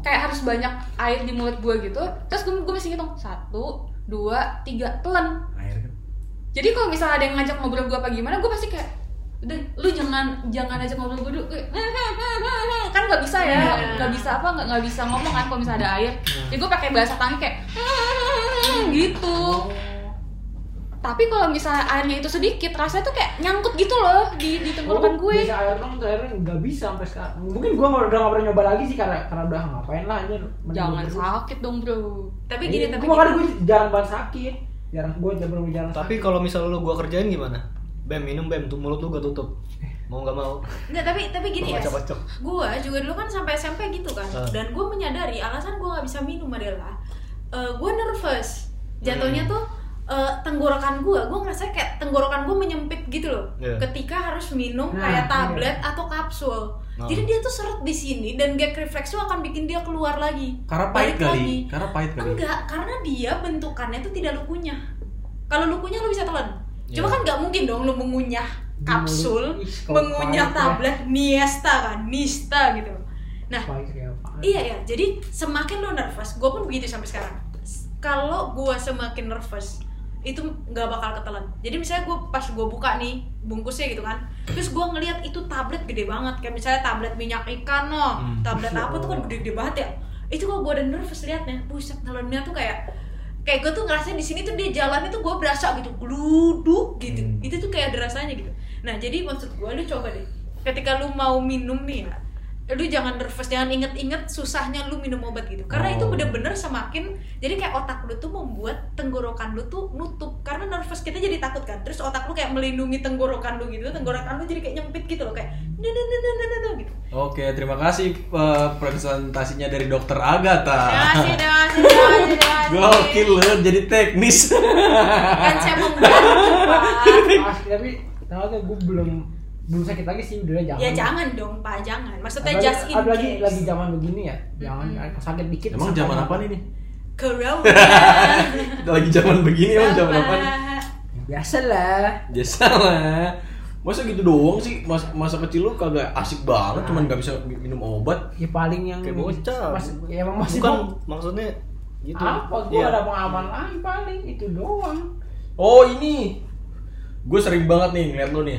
kayak harus banyak air di mulut gue gitu terus gue gue mesti ngitung satu dua tiga telan
Air kan.
jadi kalau misalnya ada yang ngajak ngobrol gue apa gimana gue pasti kayak udah lu jangan jangan ajak ngobrol gue dulu Kayak, "Hmm, hmm, hmm, hmm, hmm." kan nggak bisa ya
Iya.
nggak bisa apa nggak nggak bisa ngomong kan kalau misalnya ada air jadi gue pakai bahasa tangan kayak "Hmm, hmm, hmm, hmm," gitu tapi kalau misalnya airnya itu sedikit rasanya tuh kayak nyangkut gitu loh di di tenggorokan gue
Oh, bisa air dong tuh airnya nggak bisa sampai sekarang mungkin gua nggak- udah nggak pernah nyoba lagi sih karena karena udah ngapain lah aja mending
jangan
gua-
sakit dong bro
Tapi gini, tapi
gua makanya
gini.
gue jarang banget sakit jarang gue jarang jarang
Tapi kalau misal lu gua kerjain gimana? Bem minum bem tuh mulut lu gua tutup. Mau nggak mau.
Enggak, tapi tapi gini ya.
Kocok-kocok.
Gua juga dulu kan sampai SMP gitu kan.
Ah.
Dan gua menyadari alasan gua nggak bisa minum adalah eh, gua nervous.
Hmm.
Jatuhnya tuh eh, tenggorokan gua, gua ngerasa kayak tenggorokan gua menyempit gitu loh.
Iya.
Ketika harus minum
Nah, iya.
kayak tablet atau kapsul.
Nah.
Jadi dia tuh seret di sini dan gag refleks tuh akan bikin dia keluar lagi.
Karena pahit
Balik
kali,
lagi.
karena pahit kali.
Enggak, karena dia bentukannya tuh tidak lukunya. Kalau lukunya lu bisa telan. Cuma
Iya.
kan nggak mungkin dong lu mengunyah kapsul,
Ih, kalau
mengunyah
pahit ya.
tablet Niesta kan, Nista gitu. Nah,
Pahit kayak apaan.
iya ya. Jadi semakin lu nervous, gue pun begitu sampai sekarang. S- Kalau gue semakin nervous, itu nggak bakal ketelan. Jadi misalnya gue pas gue buka nih bungkusnya gitu kan, terus gue ngelihat itu tablet gede banget, kayak misalnya tablet minyak ikan no,
Hmm.
tablet apa tuh kan gede-gede banget ya. itu kok gue udah nervous liatnya buset nalonnya tuh kayak kayak gue tuh ngerasa di sini tuh dia jalannya tuh gue berasa gitu gluduk gitu
Hmm.
itu tuh kayak ada rasanya gitu nah jadi maksud gue lu coba deh ketika lu mau minum nih ya lu jangan nervous jangan inget-inget susahnya lu minum obat gitu karena itu
Oh.
bener-bener semakin jadi kayak otak lu tuh membuat tenggorokan lu tuh nutup karena nervous kita jadi takut kan terus otak lu kayak melindungi tenggorokan lu gitu tenggorokan lu jadi kayak nyempit gitu loh kayak "Dadadadadadada" gitu
Oke, terima kasih eh, presentasinya dari Dokter
Ah.
Agatha.
Dewasi, dewasi, dewasi, dewasi.
Gokil loh, jadi teknis.
Kan saya membantu, Pak.
Asli, tapi tau tuh gue belum belum sakit lagi sih udah jangan
Ya jangan dong, Pak, jangan. Maksudnya
Apalagi-
just in
apalagi
case. Hmm.
lagi zaman begini ya jangan sakit dikit ya.
Emang
sakit.
zaman apa nih nih?
Corona.
(laughs)
Lagi zaman begini emang zaman apa nih?
biasa lah
Ya salah. Masa gitu doang sih? Mas- masa kecil lu kagak asik banget cuman gak bisa mi- minum obat.
ya paling yang
Kayak bocah.
Mas- ya emang masih
bukan
mau-
maksudnya gitu
apa gue
Iya.
ada pengalaman lain paling itu doang
Oh, ini. Gue sering banget nih ngeliat lu nih.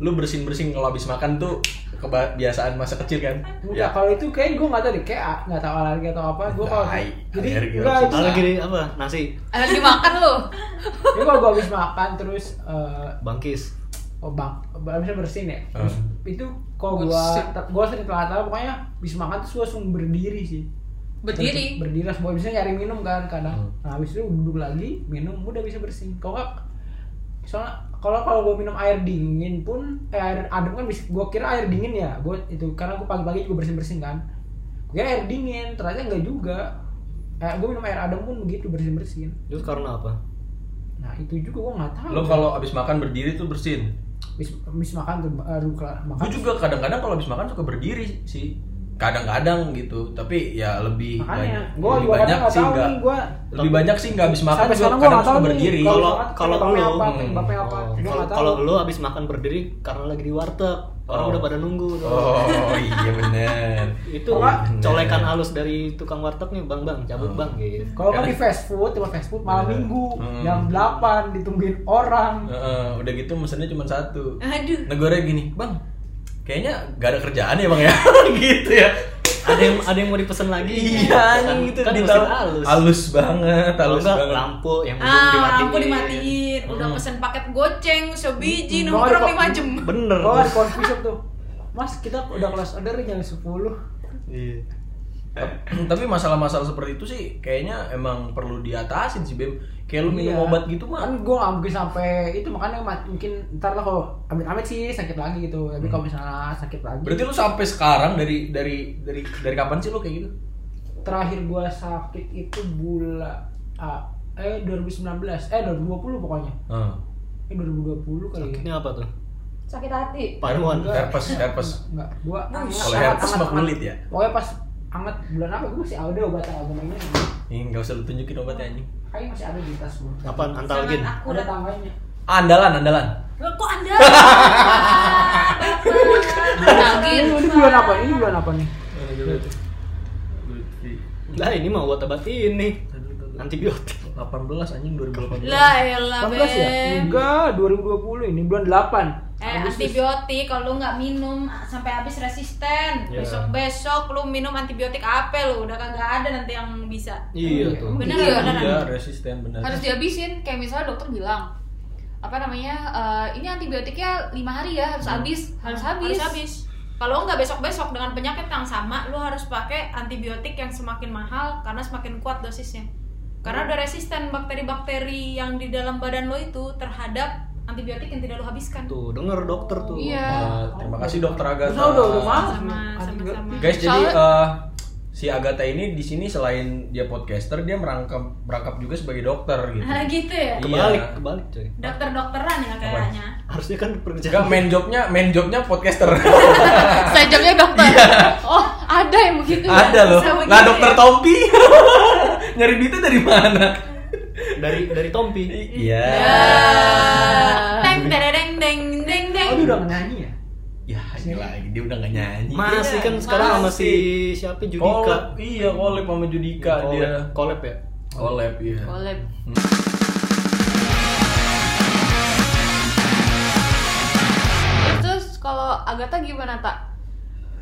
Lu bersin-bersin kalau habis makan tuh kebiasaan masa kecil kan?
Iya.
Enggak, kalau itu kayak gue nggak tahu deh, kayak ah, nggak tahu alergi atau apa. Gue kalau
Tai,
jadi
alergi
enggak
langsung.
itu.
Alergi dari apa nasi
Alergi makan lu.
(laughs) Jadi kalau gue habis makan terus eh
bangkis
oh bang, habisnya bersin ya. Terus
Hmm.
itu kalau gue
Bersin.
gue sering telat telat pokoknya habis makan terus gue langsung berdiri sih.
Berdiri.
Berdiri langsung gue bisa nyari minum kan kadang.
Hmm.
Nah, habis itu duduk lagi, minum udah bisa bersin. Kalau nggak soalnya kalau kalau gue minum air dingin pun eh, air adem kan bisa gue kira air dingin ya gue itu karena gue pagi-pagi juga bersin bersin kan gue kira air dingin ternyata enggak juga eh, gue minum air adem pun begitu bersin bersin
itu karena apa
nah itu juga gue nggak tahu
Lu kalau habis makan berdiri tuh bersin.
bis, bis makan tuh baru kelar makan
Gue juga kadang-kadang kalau habis makan suka berdiri sih. Kadang-kadang gitu, tapi ya lebih
makanya
banyak,
gue
lebih
juga kadang
banyak
nggak
sih
tahu
nggak
nih gue
lebih banyak sih nggak habis makan
sampai
juga
sekarang gue
kadang
nggak tahu
suka
nih
berdiri.
Kalau-
kalau
kalau
kalau
lu-
apa
Hmm.
penyebabnya
Oh,
apa gue
kalau
nggak
kalau
tahu
lu habis makan berdiri karena lagi di warteg orang
Oh.
udah pada nunggu tuh.
Oh iya bener. iya
itu
Oh,
Pak,
bener.
colekan halus dari tukang warteg nih bang bang cabut
Oh.
bang gitu
kalau nggak di fast food cuma fast food malam
Iya.
minggu
Hmm.
jam 8 ditungguin orang
Heeh, udah gitu mesennya cuma satu.
Aduh.
Negornya gini, bang. Kayaknya gak ada kerjaan ya (laughs) bang ya, gitu ya.
ada yang ada yang mau dipesan lagi
(laughs) Iya,
kan,
gitu
kan
ditaruh-
mesin halus
halus banget,
kalau
halus
enggak
banget.
lampu yang belum
Ah,
dimatiin
lampu dimatiin. Udah
Hmm.
pesen paket goceng, sebiji,
Hmm.
nongkrong
Kalau-
5 jam.
bener
Oh, ada coffee shop tuh. Mas, kita udah kelas order jam 10.
Iya.
Tapi masalah-masalah seperti itu sih, kayaknya emang perlu diatasin sih Bem. Kayak lu minum
Iya.
obat gitu mah.
Kan gue gak mungkin sampai itu makanya ma- mungkin ntar lah kalau amit-amit sih sakit lagi gitu. Tapi kalau misalnya sakit lagi.
Hmm. Berarti lu sampai sekarang dari dari dari dari kapan sih lu kayak gitu?
terakhir gua sakit itu bulan ah, eh 2019, eh 2020 pokoknya.
Heeh.
Eh 2020 kali ya.
sakitnya apa tuh
Sakit hati.
paruan
herpes, herpes.
Enggak, gua anget-
Kalau
anget-
herpes
anget-
mah pelit ya.
Pokoknya pas anget bulan apa gua masih ada obat yang agama ini.
Ih, nggak usah lu tunjukin obatnya anjing.
Kayaknya masih ada di tas gua.
apaan antalgin
Sangat aku
Ada
udah-
tangganya.
Andalan, andalan.
Lah, Kok Anda?
Nagin.
Ini, ini bulan apa? Ini bulan apa nih?
lah ini mah obat-obat ini antibiotik
18 anjing 2018.
Lah, elah,
18 ya?
Beb.
Enggak, 2020 ini bulan 8.
Eh, antibiotik kalau lu nggak minum sampai habis resisten.
Ya.
Besok-besok lu minum antibiotik apa lu? Udah kagak ada nanti yang bisa.
iya
Iya.
tuh
Bener
Iya,
ya, beneran.
Iya, resisten benar.
harus dihabisin kayak misalnya dokter bilang apa namanya "Eh, ini antibiotiknya lima hari ya harus habis harus habis
Harus
(laughs)
habis. Kalau nggak besok-besok dengan penyakit yang sama, lu harus pakai antibiotik yang semakin mahal karena semakin kuat dosisnya. Karena udah resisten bakteri-bakteri yang di dalam badan lo itu terhadap antibiotik yang tidak lo habiskan.
tuh denger dokter tuh
Iya.
Nah, terima kasih dokter Agatha.
Udah, udah, udah maaf.
Sama, sama-sama.
Guys, jadi
Soalnya-
eh, si Agatha ini di sini selain dia podcaster, dia merangkap merangkap juga sebagai dokter gitu.
Ah, gitu ya.
kebalik
Iya.
kebalik coy
Dokter-dokteran ya kayaknya.
harusnya kan pekerjaan
Enggak main jobnya, main jobnya podcaster.
saya jamnya dokter oh ada yang begitu ya?
Iya. Ada loh.
bisa begitu
Lah
ya.
dokter Tompi. (laughs) Nyari duitnya dari mana?
dari dari
(laughs)
Tompi
Iya.
Teng deng deng deng deng.
Oh, dia udah nyanyi ya?
Ya, gila lagi dia udah gak nyanyi.
masih kan sekarang sama si siapa
Collab,
Judika
iya collab sama Judika dia.
Collab- collab ya
Collab, iya.
boleh terus kalau Agatha gimana tak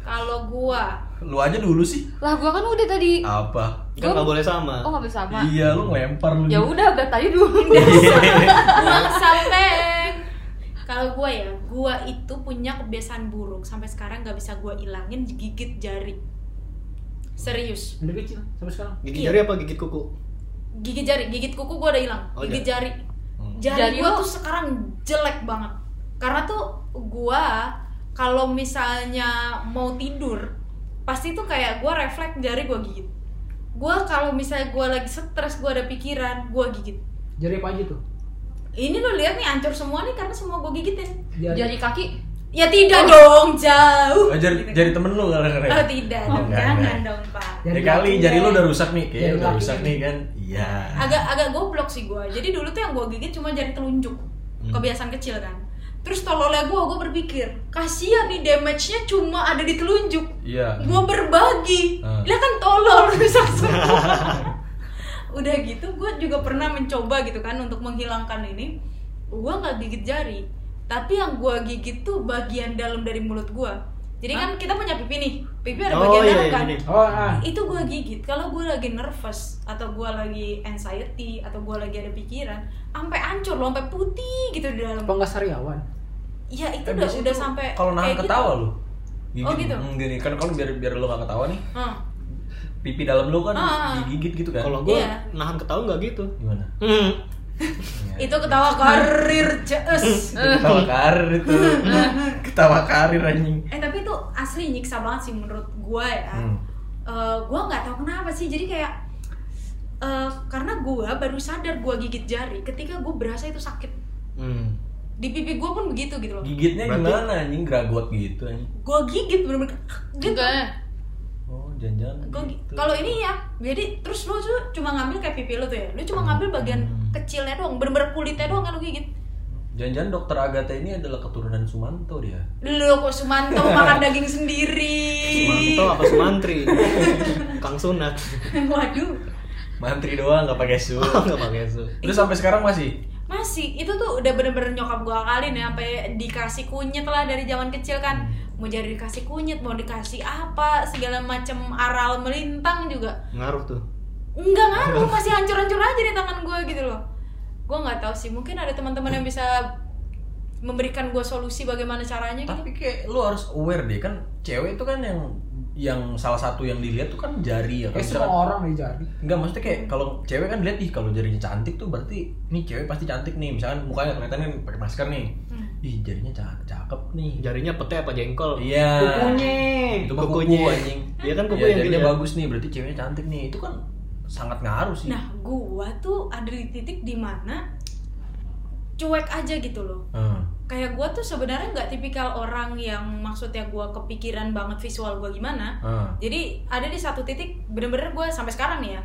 Kalau gua,
Lu aja dulu sih.
Lah gua kan udah tadi.
Apa?
Kan nggak boleh sama.
Oh nggak bisa sama.
Iya, lu ngelempar lu.
Ya
(laughs)
udah udah tadi dulu.
buang sampai kalau gua ya, gua itu punya kebiasaan buruk sampai sekarang nggak bisa gua ilangin gigit jari. Serius,
Dari kecil sampai sekarang.
Gigit
Iya.
jari apa gigit kuku?
gigit jari, gigit kuku gua udah hilang,
Oh,
gigit jari.
Hmm.
Jari
Jari,
lo-
gua tuh sekarang jelek banget. Karena tuh gua kalau misalnya mau tidur, pasti tuh kayak gua refleks jari gua gigit. Gua kalau misalnya gua lagi stres, gua ada pikiran, gua gigit.
Jari apa aja tuh?
Ini lo lihat nih hancur semua nih karena semua gua gigitin.
Jari kaki.
Ya tidak dong, jauh.
Oh, jari, jari temen lu kadang-kadang.
Oh tidak,
Oh,
dong,
enggak,
jangan
enggak.
dong pak.
Ya kali jari lu udah rusak nih,
Jari
kayaknya udah
laki.
rusak nih kan. Iya.
Agak agak goblok sih gua. Jadi dulu tuh yang gua gigit cuma jari telunjuk,
Hmm.
kebiasaan kecil kan. Terus tololnya gua, gua berpikir, kasihan nih damage-nya cuma ada di telunjuk.
Iya.
Gua berbagi,
Hmm.
dia kan tolol (laughs) rusak semua. Udah gitu, gua juga pernah mencoba gitu kan untuk menghilangkan ini. Gua nggak gigit jari, tapi yang gua gigit tuh bagian dalam dari mulut gua. Jadi kan kita punya pipi nih, pipi ada
Oh,
bagian
iya,
dalam
iya,
kan.
iya.
Oh, ah.
itu gue gigit kalau gue lagi nervous atau gue lagi anxiety atau gue lagi ada pikiran sampai hancur loh sampai putih gitu di dalam
Apa enggak sariawan?
ya itu
Eh,
udah
biasanya
udah
tuh
sampai
kalau nahan
kayak gitu.
ketawa lu.
Oh, gitu?
Hmm, gini kan kalau biar biar lu gak ketawa nih.
Hmm.
Pipi dalam lu kan
Ah.
digigit gitu kan.
Kalau gue
Iya.
nahan ketawa nggak gitu.
gimana?
Hmm.
Ya.
itu ketawa
(laughs)
karir jees
ketawa karir
(laughs)
itu. ketawa karir anjing.
eh tapi itu asli nyiksa banget sih menurut gue ya
Hmm.
Eh, gue nggak tahu kenapa sih jadi kayak eh, karena gue baru sadar gue gigit jari ketika gue berasa itu sakit
Hmm.
di pipi gue pun begitu gitu loh
Gigitnya
Berarti-
gimana anjing? Gragot gitu anjing.
gue gigit bener-bener gitu
Juga.
Oh, jangan-jangan.
Gua-
gitu.
kalau ini ya jadi terus lu tuh cuma ngambil kayak pipi lu tuh ya lu cuma ngambil bagian kecilnya doang bener-bener kulitnya doang kan lu gigit
Jangan-jangan dokter Agatha ini adalah keturunan Sumanto dia.
lu kok Sumanto makan daging sendiri
Sumanto apa Sumantri? Kang Sunat.
(laughs)
(laughs)
waduh
Mantri doang nggak pakai su.
Oh, nggak pakai su.
Lu sampai sekarang masih?
masih itu tuh udah bener-bener nyokap gua akalin ya sampai dikasih kunyit lah dari zaman kecil kan mau jadi dikasih kunyit mau dikasih apa segala macem aral melintang juga
Ngaruh tuh.
Enggak ngaruh, masih hancur-hancur aja di tangan gue gitu loh. Gue nggak tahu sih, mungkin ada teman-teman yang bisa memberikan gue solusi bagaimana caranya gitu.
Tapi kayak lu harus aware deh kan cewek itu kan yang yang salah satu yang dilihat tuh kan jari ya kan.
Kayak Eh, semua
Misalkan-
orang dari jari.
Enggak maksudnya kayak kalau cewek kan lihat ih kalau jarinya cantik tuh berarti nih cewek pasti cantik nih. Misalkan mukanya kelihatan kan pakai masker nih. Ih jarinya cakep, cakep nih.
Jarinya pete apa jengkol?
Iya.
Kukunya.
Itu mah
Kukunya.
kuku anjing.
Iya kan kuku
Iya,
yang
jarinya
dilihat.
bagus nih berarti ceweknya cantik nih. Itu kan sangat ngaruh sih.
Nah, gue tuh ada di titik dimana cuek aja gitu loh.
Hmm.
Kayak gue tuh sebenarnya nggak tipikal orang yang maksudnya gue kepikiran banget visual gue gimana.
Hmm.
Jadi ada di satu titik bener-bener gue sampai sekarang nih ya.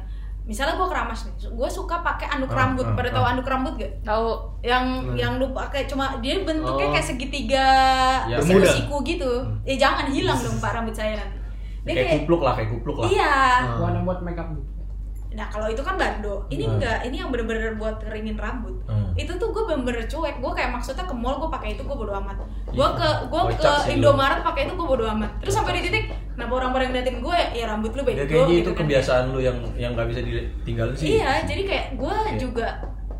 Misalnya gue keramas nih, gue suka pakai anduk
Ah,
rambut.
ah,
Pada
ah.
tahu anduk rambut gak?
Tahu.
yang
Hmm.
yang lu pakai cuma dia bentuknya
Oh.
kayak segitiga
Ya,
siku
Bermuda.
siku gitu ya jangan hilang dong pak rambut saya nanti dia
Kayak
kayak,
kupluk lah, kayak kupluk lah.
iya
Hmm.
Warna buat make up gitu.
nah kalau itu kan bando ini
Hmm.
enggak ini yang bener-bener buat keringin rambut
Hmm.
itu tuh gue bener-bener cuek gue kayak maksudnya ke mall gue pakai itu gue bodo amat gue
Iya.
ke gue ke
Kocak sih lu.
Indomaret pakai itu gue bodo amat terus sampai di titik kenapa orang-orang ngeliatin gue ya rambut lu
Ya
bego
kayaknya itu
gitu kan.
kebiasaan lu yang yang nggak bisa ditinggalin sih.
Iya, jadi kayak gue
Iya.
juga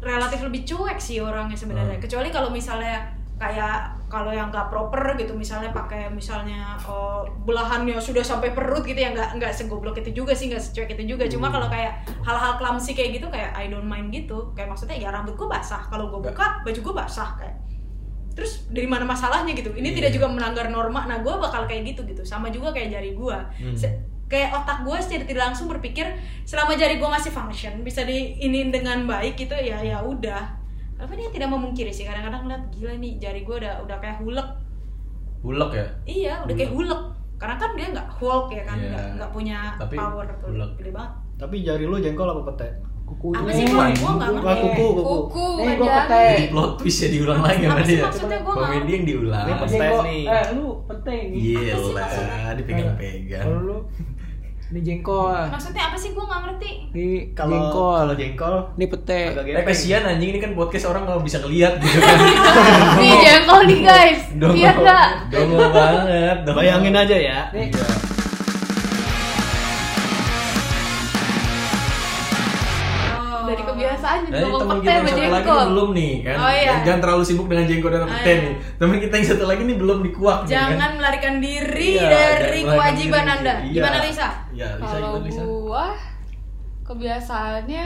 relatif lebih cuek sih orangnya sebenarnya.
Hmm.
Kecuali kalau misalnya kayak kalau yang nggak proper gitu, misalnya pakai misalnya oh, belahannya sudah sampai perut gitu ya nggak nggak segoblok itu juga sih, nggak secuek itu juga. Cuma
Hmm.
kalau kayak hal-hal clumsy kayak gitu kayak I don't mind gitu. Kayak maksudnya ya rambut gue basah, kalau gue buka baju gue basah kayak. Terus dari mana masalahnya gitu? Ini
Iya.
tidak juga melanggar norma. Nah, gue bakal kayak gitu gitu. Sama juga kayak jari gue.
Hmm.
Se- kayak otak gue secara tidak langsung berpikir selama jari gue masih function bisa diinin dengan baik gitu ya ya udah tapi dia tidak memungkiri sih kadang-kadang lihat gila nih jari gue udah udah kayak hulek
Bulek ya.
iya udah kayak hulek karena kan dia nggak hulk ya kan
Iya.
nggak nggak punya
Tapi
power tuh
hulek.
gede banget
Tapi jari lu jengkol apa pete?
Kukunya.
apa sih gue gue nggak
Nah,
ngerti
kuku, kuku.
Kuku.
Eh,
bukan
gua
jari.
petek.
Plot twist ya diulang lagi sama
Apa sih
dia.
maksudnya? Gua nggak
Komedi yang diulang.
Ini
Jengkol.
nih.
gitu.
Iya,
Eh, lu penting.
kan?
Gila, dipegang-pegang.
Kalau lu Ini jengkol.
Maksudnya apa sih gue nggak ngerti.
Ini
Kalau
jengkol.
kalau jengkol
Ini pete.
agak
Eh,
gepeng.
kasihan anjing ini kan podcast orang nggak bisa ngeliat
(laughs)
gitu kan.
Nih jengkol nih guys.
Dongol.
Iya
Lihat nggak?
Dongol banget. dongol.
Bayangin aja ya.
Ini
Iya.
Oh.
Dari kebiasaan jadi
Dan Nah, ini teman
ngomong
kita yang
pete sama
satu lagi
jengkol.
ini belum nih kan.
Oh, iya.
Jangan terlalu sibuk dengan jengkol dan
Oh,
pete
iya.
nih. Teman kita yang satu lagi ini belum dikuak nih, kan?
Jangan melarikan diri
Iya,
dari
jangan melarikan
kewajiban
diri.
anda.
Iya.
Gimana Lisa?
Iya, Lisa
Kalau
gimana Lisa?
gua kebiasaannya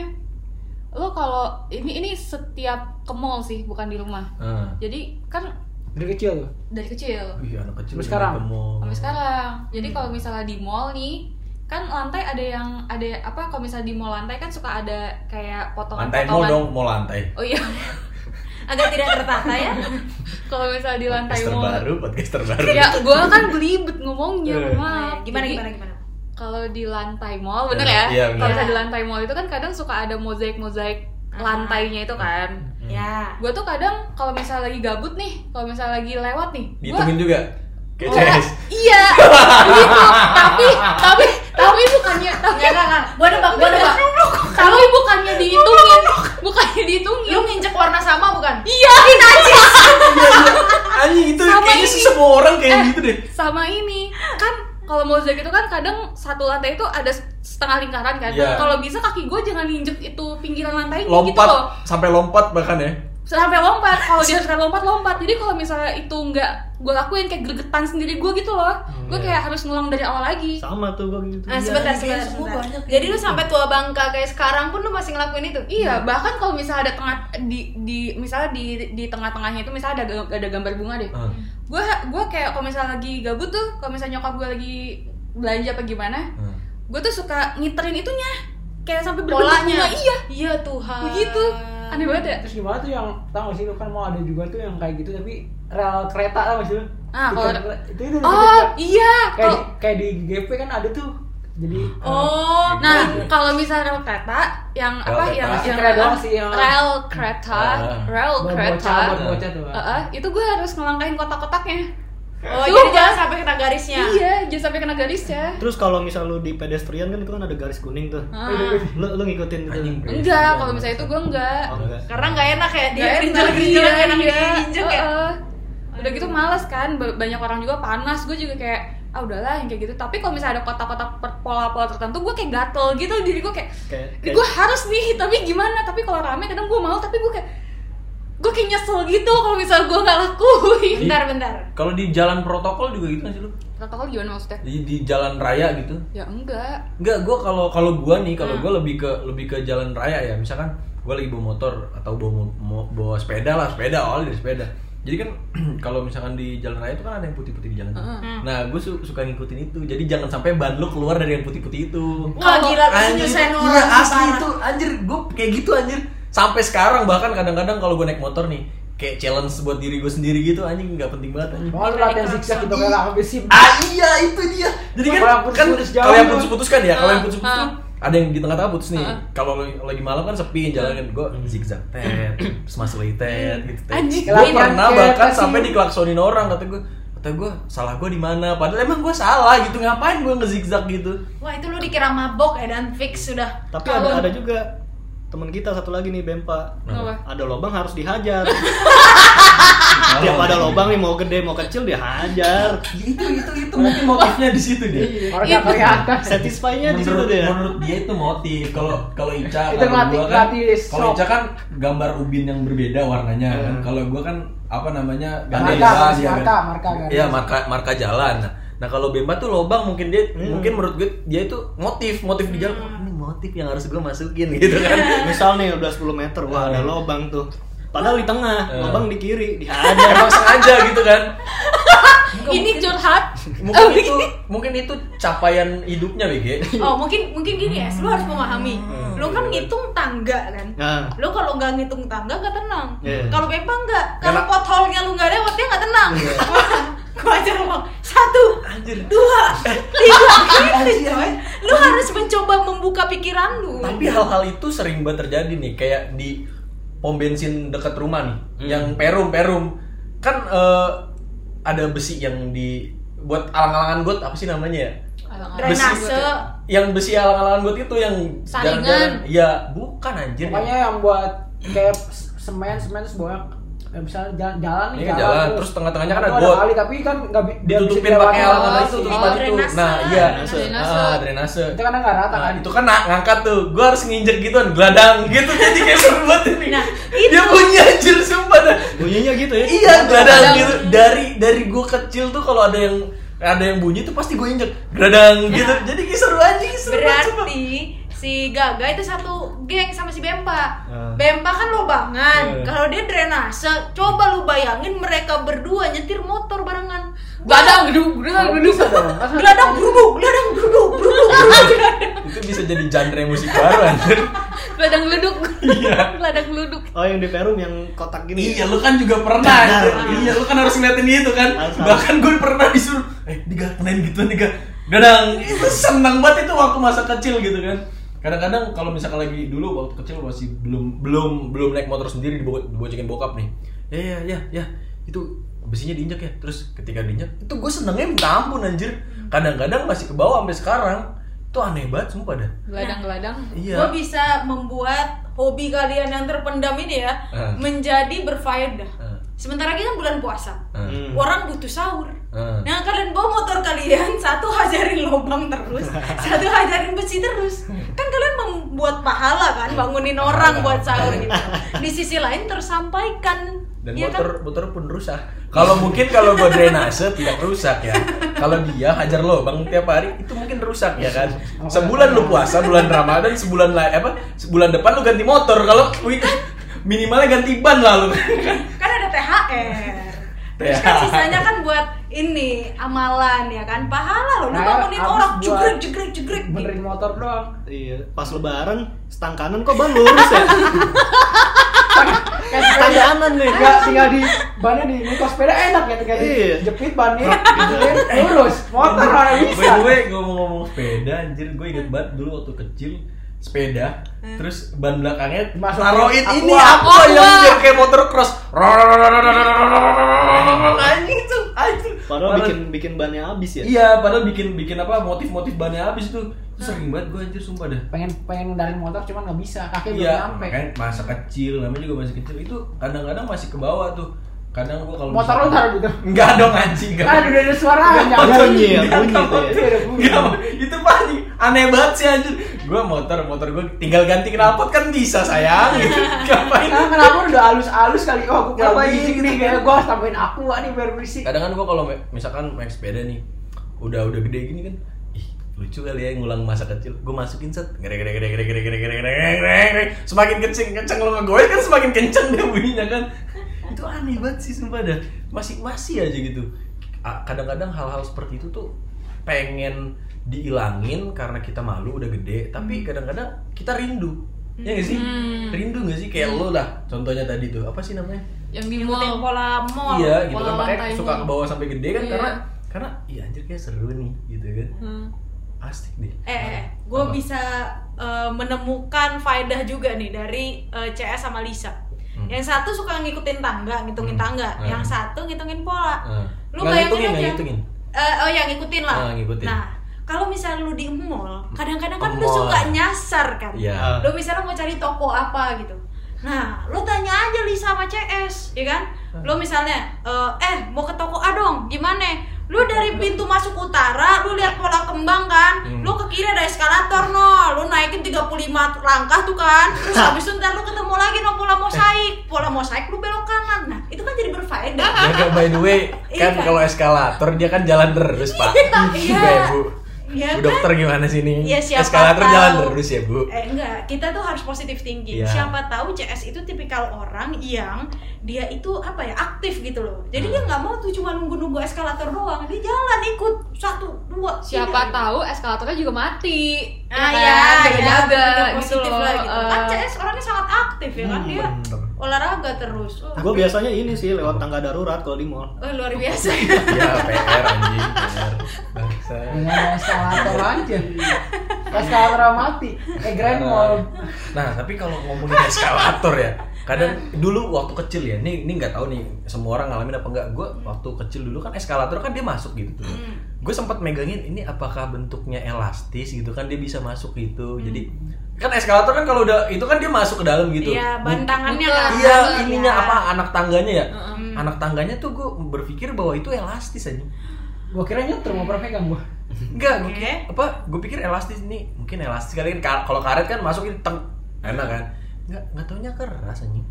lo kalau ini ini setiap ke mall sih bukan di rumah.
Ah.
Jadi kan
dari kecil tuh.
dari kecil
Wih, Iya, anak kecil
Sampai sekarang?
ketemu.
sampai sekarang. Jadi
Hmm.
kalau misalnya di mall nih kan lantai ada yang ada apa kalau misalnya di mall lantai kan suka ada
Lantai
kayak
mau dong,
potongan-potongan.
mau lantai.
Oh iya, (laughs)
Agak tidak tertata ya.
kalau misalnya di lantai
Podcaster
mall.
baru, podcaster baru.
Ya, gua kan belibet ngomongnya,
Eh.
maaf.
Nah, Gimana
Jadi,
gimana gimana?
Hmm.
Kalau di lantai mall, bener
Iya,
ya?
iya, bener.
Kalau misalnya di lantai mall itu kan kadang suka ada mozaik-mozaik
Ah.
lantainya itu kan.
Hmm.
Ya.
Gue tuh kadang kalau misalnya lagi gabut nih, kalau misalnya lagi lewat nih, gua
Dihitungin juga. Kayak
Wah,
CS.
Iya.
(laughs)
gitu. Tapi tapi tapi bukannya tapi
Enggak enggak enggak. Gua nebak gua nebak.
tapi bukannya dihitungin, bukannya dihitungin.
Lu nginjek warna sama bukan?
Iya,
Anjing itu
Sama
kayaknya
ini.
semua orang kayak
Eh.
gitu deh.
sama ini kan kalau mozaik itu kan kadang satu lantai itu ada setengah lingkaran kan
Iya.
kalau bisa kaki gue jangan injek itu pinggiran lantainya gitu
Lompat
loh
sampai lompat bahkan ya.
sampai lompat kalau dia sampai lompat lompat jadi kalau misalnya itu nggak gue lakuin kayak gregetan sendiri gue gitu loh gue
Iya.
kayak harus ngulang dari awal lagi
Sama tuh gua gitu.
Nah, sebentar, sebentar,
semua
sebentar.
banyak
Jadi
gitu.
lu sampai tua bangka kayak sekarang pun lu masih ngelakuin itu?
iya bahkan kalau misalnya ada tengah di di misalnya di di tengah-tengahnya itu misalnya ada ga- ada gambar bunga deh
Ah.
gue gue kayak kalau misalnya lagi gabut tuh kalau misalnya nyokap gue lagi belanja apa gimana
Ah.
gue tuh suka ngiterin itunya kayak sampai berbentuk bunga.
Polanya.
iya
Iya Tuhan.
begitu aneh banget ya
Eh, Terus gimana tuh yang tahu gak sih lu kan mau ada juga tuh yang kayak gitu tapi rel kereta lah maksudnya.
Ah,
Tiket
kalau-
kereta. itu itu, itu,
oh iya
kayak di,
kalau
kayak di GP kan ada tuh. Jadi eh,
Oh,
nah kalau misalnya rel kereta yang
Rel
apa
kereta.
yang yang
Kereta doang sih, yang-
rel kereta
Ah.
rel
buat
kereta
bocah buat bocah tuh.
Eh, eh, itu gue harus ngelangkain kotak-kotaknya
oh
Sumpah.
jadi jangan sampai kena garisnya.
iya jangan sampai kena garis ya
Terus kalau misal lu di pedestrian kan itu kan ada garis kuning tuh.
Ah.
Lu lu ngikutin gitu.
Anjing.
enggak kalau misalnya itu gue enggak
Oh, enggak.
Karena nggak enak ya dia
Nggak
diinjek
enak,
diinjek
iya,
enak
iya.
diinjek ya.
Heeh. udah gitu males kan ba- banyak orang juga panas gue juga kayak ah udahlah yang kayak gitu tapi kalau misalnya ada kotak-kotak per- pola-pola tertentu gue kayak gatel gitu diri gue kayak
Kayak kayak-
gue harus nih tapi gimana tapi kalau rame kadang gue mau tapi gue kayak gue kayak nyesel gitu kalau misalnya gue nggak lakuin
Bentar bentar.
Kalau di jalan protokol juga gitu nggak sih lu?
protokol gimana maksudnya
Di, di jalan raya gitu?
ya enggak
Enggak, gue kalau kalau gue nih kalau
Hmm.
gue lebih ke lebih ke jalan raya ya. Misalkan gue lagi bawa motor atau bawa mo- mo- bawa sepeda lah, sepeda awalnya dari sepeda. Jadi kan (clears throat) kalau misalkan di jalan raya itu kan ada yang putih-putih di jalan. tuh.
Hmm.
Nah, gue suka ngikutin itu. Jadi jangan sampai ban lu keluar dari yang putih-putih itu.
Wah gila lu
Anjir,
nyusahin orang.
iya, asli
parah.
itu anjir gue kayak gitu anjir sampai sekarang bahkan kadang-kadang kalau gue naik motor nih kayak challenge buat diri gue sendiri gitu anjing nggak penting banget anjing
Mau lu latihan zigzag gitu kayak habis sih.
ah iya itu dia jadi kan
Kalau yang putus-
kan
putus jauh
kalau yang
tuh.
putus-putus kan ya kalau yang putus-putus
ah.
tuh ada yang di tengah-tengah putus nih kalau lagi- lagi malam kan sepi jalan kan gue zigzag tet semasuli tet gitu tet
Anjing,
gue
kelainan,
pernah
kayak
bahkan
kasih-
sampai dikelaksonin orang kata gue kata gue salah gue di mana padahal emang gue salah gitu ngapain gue ngezigzag gitu
Wah itu lu dikira mabok ya dan fix sudah.
Tapi
Kalau-
ada ada juga teman kita satu lagi nih Bempa.
Kenapa?
Ada lobang
(laughs)
harus dihajar. Ah, Tiap ada lobang ya. nih mau gede mau kecil dihajar.
gitu. itu itu itu mungkin motifnya di situ
Iya.
dia
Orang gak kelihatan.
Satisfy-nya di situ
menurut,
deh. ya.
menurut dia itu motif kalau kalau Ica
Itu
kalau
ngelatih-
gua kan
ngelatih
kalau
shock.
Ica kan gambar ubin yang berbeda warnanya
Hmm.
kalau gua kan apa namanya
Iya. Marka,
garis lah
marka,
dia kan.
marka, marka, garis.
iya marka marka jalan Nah, nah kalau Bemba tuh lobang mungkin dia
Hmm.
mungkin menurut gue dia itu motif motif di jalan
Hmm.
Wah, ini motif yang harus gua masukin (laughs) gitu
(laughs)
kan
(laughs)
Misal nih udah 10 meter, wah ada
Eh.
lobang tuh. Padahal di tengah,
Eh.
lobang di kiri,
(laughs)
dihajar.
emang sengaja gitu
(laughs)
kan
ini curhat
Oh,
mungkin itu
iya.
mungkin itu capaian hidupnya BG
Oh mungkin mungkin gini ya, lu harus memahami. Lu kan ngitung tangga kan.
Hmm. Nah,
Lu kalau nggak ngitung tangga nggak tenang.
Iya.
Kalau Bempa nggak,
Karena-
kalau potholnya lu nggak lewat dia nggak tenang.
Iya.
(laughs) Gua aja ngomong satu, dua,
(laughs)
tiga, gitu, coy. Lu harus mencoba membuka pikiran lu.
Tapi
Iya.
hal-hal itu sering banget terjadi nih, kayak di pom bensin dekat rumah nih,
Hmm.
yang perum perum, kan eh, ada besi yang di buat alang-alangan got apa sih namanya ya?
drainase
yang besi alang-alangan buat itu yang
Saringan.
jarang-jarang. Iya, bukan anjir.
Pokoknya yang buat kayak semen semen terus banyak eh, misalnya jalan jalan nih
Ini kan jalan, terus tengah-tengahnya kan ada got.
kali tapi kan nggak bi- dia bisa
ditutupin
dilewati.
pakai alangan
Oh,
itu
sih.
terus
Oh,
maju tuh.
drainase.
Nah, iya.
Drainase.
Ah, drainase.
itu kan nggak rata
Nah,
kan
itu kan na- ngangkat tuh, gue harus nginjek gituan, geladang gitu jadi kayak seru banget ini.
Nah,
Dia punya anjir sumpah dah.
bunyinya gitu ya
Iya, geladang
Geladang.
gitu. Dari dari gue kecil tuh kalau ada yang ada yang bunyi tuh pasti gue injek geladang gitu. Jadi kayak seru aja, kayak seru banget sumpah.
berarti si Gaga itu satu geng sama si Bempa.
Ah.
Bempa kan lobangan.
Iya.
Kalau dia drainase, coba lu bayangin mereka berdua nyetir motor barengan.
Gadang, gedung, gedung, gedung.
bisa dong kan
Geladang geruduk, geladang geruduk, geruduk, geruduk.
(laughs)
Itu bisa jadi genre musik baru anjir.
Gadang leduk. Iya. Gadang leduk.
oh yang di Perum yang kotak gini
Iya, lu kan juga pernah.
Benar.
anjir. Iya, lu kan harus ngeliatin itu kan.
Harus, harus.
Bahkan gue pernah disuruh, eh, diga, kenain gitu, diga. Dadang, itu senang banget itu waktu masa kecil gitu kan. Kadang-kadang kalau misalkan lagi dulu waktu kecil masih belum belum belum naik motor sendiri dibo- dibocekin bokap nih. Ya ya ya ya, itu besinya diinjak ya. Terus ketika diinjak, itu gue senengnya minta ampun anjir. Kadang-kadang masih ke bawah sampai sekarang. Itu aneh banget sumpah dah.
Gadang, gadang.
Iya.
Gua bisa membuat hobi kalian yang terpendam ini ya
Ah.
menjadi berfaedah.
Ah.
Sementara kita bulan puasa.
Ah,
Hmm.
Orang butuh sahur.
ah.
Nah kalian bawa motor kalian (laughs) satu hajarin lubang terus, satu hajarin besi terus. Kan kalian membuat pahala kan, bangunin orang buat sahur gitu. Di sisi lain tersampaikan.
dan
Iya
motor
kan?
motor pun rusak
(laughs)
kalau mungkin kalau gua drainase tidak rusak ya kalau dia hajar lubang tiap hari itu mungkin rusak ya kan sebulan lu puasa bulan ramadan sebulan la- apa sebulan depan lu ganti motor kalau weekend minimalnya ganti ban lah lu
kan ada THR. Terus kan
THR.
sisanya kan buat ini amalan ya kan pahala loh
Nah,
lu bangunin
abis
orang
buat
jugrek jugrek jugrek gitu.
benerin motor doang
Iya, pas lebaran stang kanan kok bang lurus ya?
(laughs)
stang kanan nih.
Tinggal, tinggal di bannya di ini kos sepeda enak ya tinggal di
Iya.
jepit bannya jepit, lurus motor mana
gue
bisa
Iya. gue ngomong-ngomong sepeda anjir gue inget banget dulu waktu kecil sepeda terus ban belakangnya
Hmm. Dimasukin Oh,
taruhin
aqua.
ini aqua yang
Aqua.
biar kayak motor cross
Nah,
anjing itu anjing
Padahal bikin bikin bannya habis ya.
Iya, padahal bikin bikin apa motif-motif bannya habis itu. Itu sering banget gue anjir sumpah dah.
pengen pengen ngendarin motor cuman nggak bisa kaki belum
Iya,
nyampe
makanya masa kecil, namanya juga masih kecil itu kadang-kadang masih ke bawah tuh. Kadang gua kalau
motor lu
misalkan-
taruh gitu
Enggak dong anjing, enggak.
aduh udah Kan ada suara aja
Motor
Ada
bunyi
Iya,
ya,
Ada
bunyi tuh
motor.
ya.
gitu.
Ada bunyi.
Enggak, itu pasti aneh banget sih anjir. Gua motor, motor gua tinggal ganti knalpot kan bisa
(laughs)
sayang gitu. Ngapain?
Nah, kenapa udah halus-halus kali? Oh, aku kurang
Ngapain
berisik
gitu
nih.
kan?
Kayaknya gue harus tambahin aku ah, nih biar berisik.
kadang kan gue kalau me- misalkan naik sepeda nih udah udah gede gini kan ih lucu kali ya ngulang masa kecil gue masukin set gede gede gede gede gede gede gede gede gede gede. semakin kenceng kenceng lo ngegoes kan semakin kenceng dia bunyinya kan itu aneh banget sih sumpah dah masih masih aja gitu A- kadang-kadang hal-hal seperti itu tuh pengen diilangin karena kita malu udah gede tapi kadang-kadang kita rindu ya gak sih
Hmm.
rindu gak sih kayak lo lah contohnya tadi tuh apa sih namanya
Yang di
Ngikutin
mall.
pola mall.
iya gitu kan
Pola
makanya
lantai
suka
mall.
ke bawah sampai gede kan
Iya.
karena karena iya anjir kayak seru nih gitu kan
Hmm.
asik deh
Eh, gue
Apa?
bisa eh, menemukan faedah juga nih dari eh, CS sama Lisa.
Hmm.
Yang satu suka ngikutin tangga, ngitungin
Hmm.
tangga.
Hmm.
Yang satu ngitungin pola.
Eh, nggak
Lu bayangin
ngitungin,
aja.
nggak ngitungin.
Eh, oh ya ngikutin lah.
Ah, ngikutin.
Nah, kalau misalnya lu di mall, kadang-kadang kan
Ke
lu
mall.
suka nyasar kan.
iya
Ah.
Lu misalnya mau cari toko apa gitu. Nah, lu tanya aja Lisa sama CS, ya kan? Lu misalnya eh, eh mau ke toko A dong, gimana? Lu dari pintu masuk utara, lu lihat pola kembang kan?
Hmm.
Lu ke kiri ada eskalator no, lu naikin 35 langkah tuh kan. Terus habis itu ntar lu ketemu lagi no pola mosaik. Pola mosaik lu belok kanan. Nah, itu kan jadi berfaedah.
(laughs) ya kan, by the way
Iya
kan
kan?
kalau eskalator dia kan jalan terus pak (laughs)
Iya.
ya bu
Iya
Bu
kan?
dokter gimana sih ini
Iya, siapa
eskalator
tahu.
jalan terus ya bu
Eh enggak, kita tuh harus positif thinking.
Iya.
Siapa tahu CS itu tipikal orang yang dia itu apa ya aktif gitu loh. Jadi dia nggak mau tuh cuma nunggu-nunggu eskalator doang. Dia jalan ikut satu dua.
Siapa
tiga.
tahu eskalatornya juga mati.
Ah
kan?
ya,
Jaga-jaga
udah
gitu
positif
loh.
lah gitu. Kan
Eh,
CS orangnya sangat aktif ya kan
Hmm,
dia
bener.
olahraga terus. Oh,
Gue biasanya ini sih lewat tangga darurat kalau di mall.
Eh,
oh, luar biasa.
ya PR anjing PR bangsa
Dengan eskalator aja. Eskalator mati. Eh, grand mall.
Nah, tapi kalau ngomongin eskalator ya, kadang dulu waktu kecil ya, ini ini nggak tahu nih semua orang ngalamin apa enggak. Gue waktu kecil dulu kan eskalator kan dia masuk gitu tuh. gue sempat megangin ini apakah bentuknya elastis gitu kan dia bisa masuk gitu jadi kan eskalator kan kalau udah itu kan dia masuk ke dalam gitu
Iya,
Bu-
ban tangannya
Bukan.
kan.
iya
tangan,
ininya
ya.
apa anak tangganya ya
Heeh.
anak tangganya tuh gue berpikir bahwa itu elastis aja
Gua kira nyetir mau pernah pegang gua.
enggak gue
Oke.
apa gue pikir elastis nih mungkin elastis kali kan ka- kalau karet kan masukin teng enak kan nggak nggak taunya keras anjing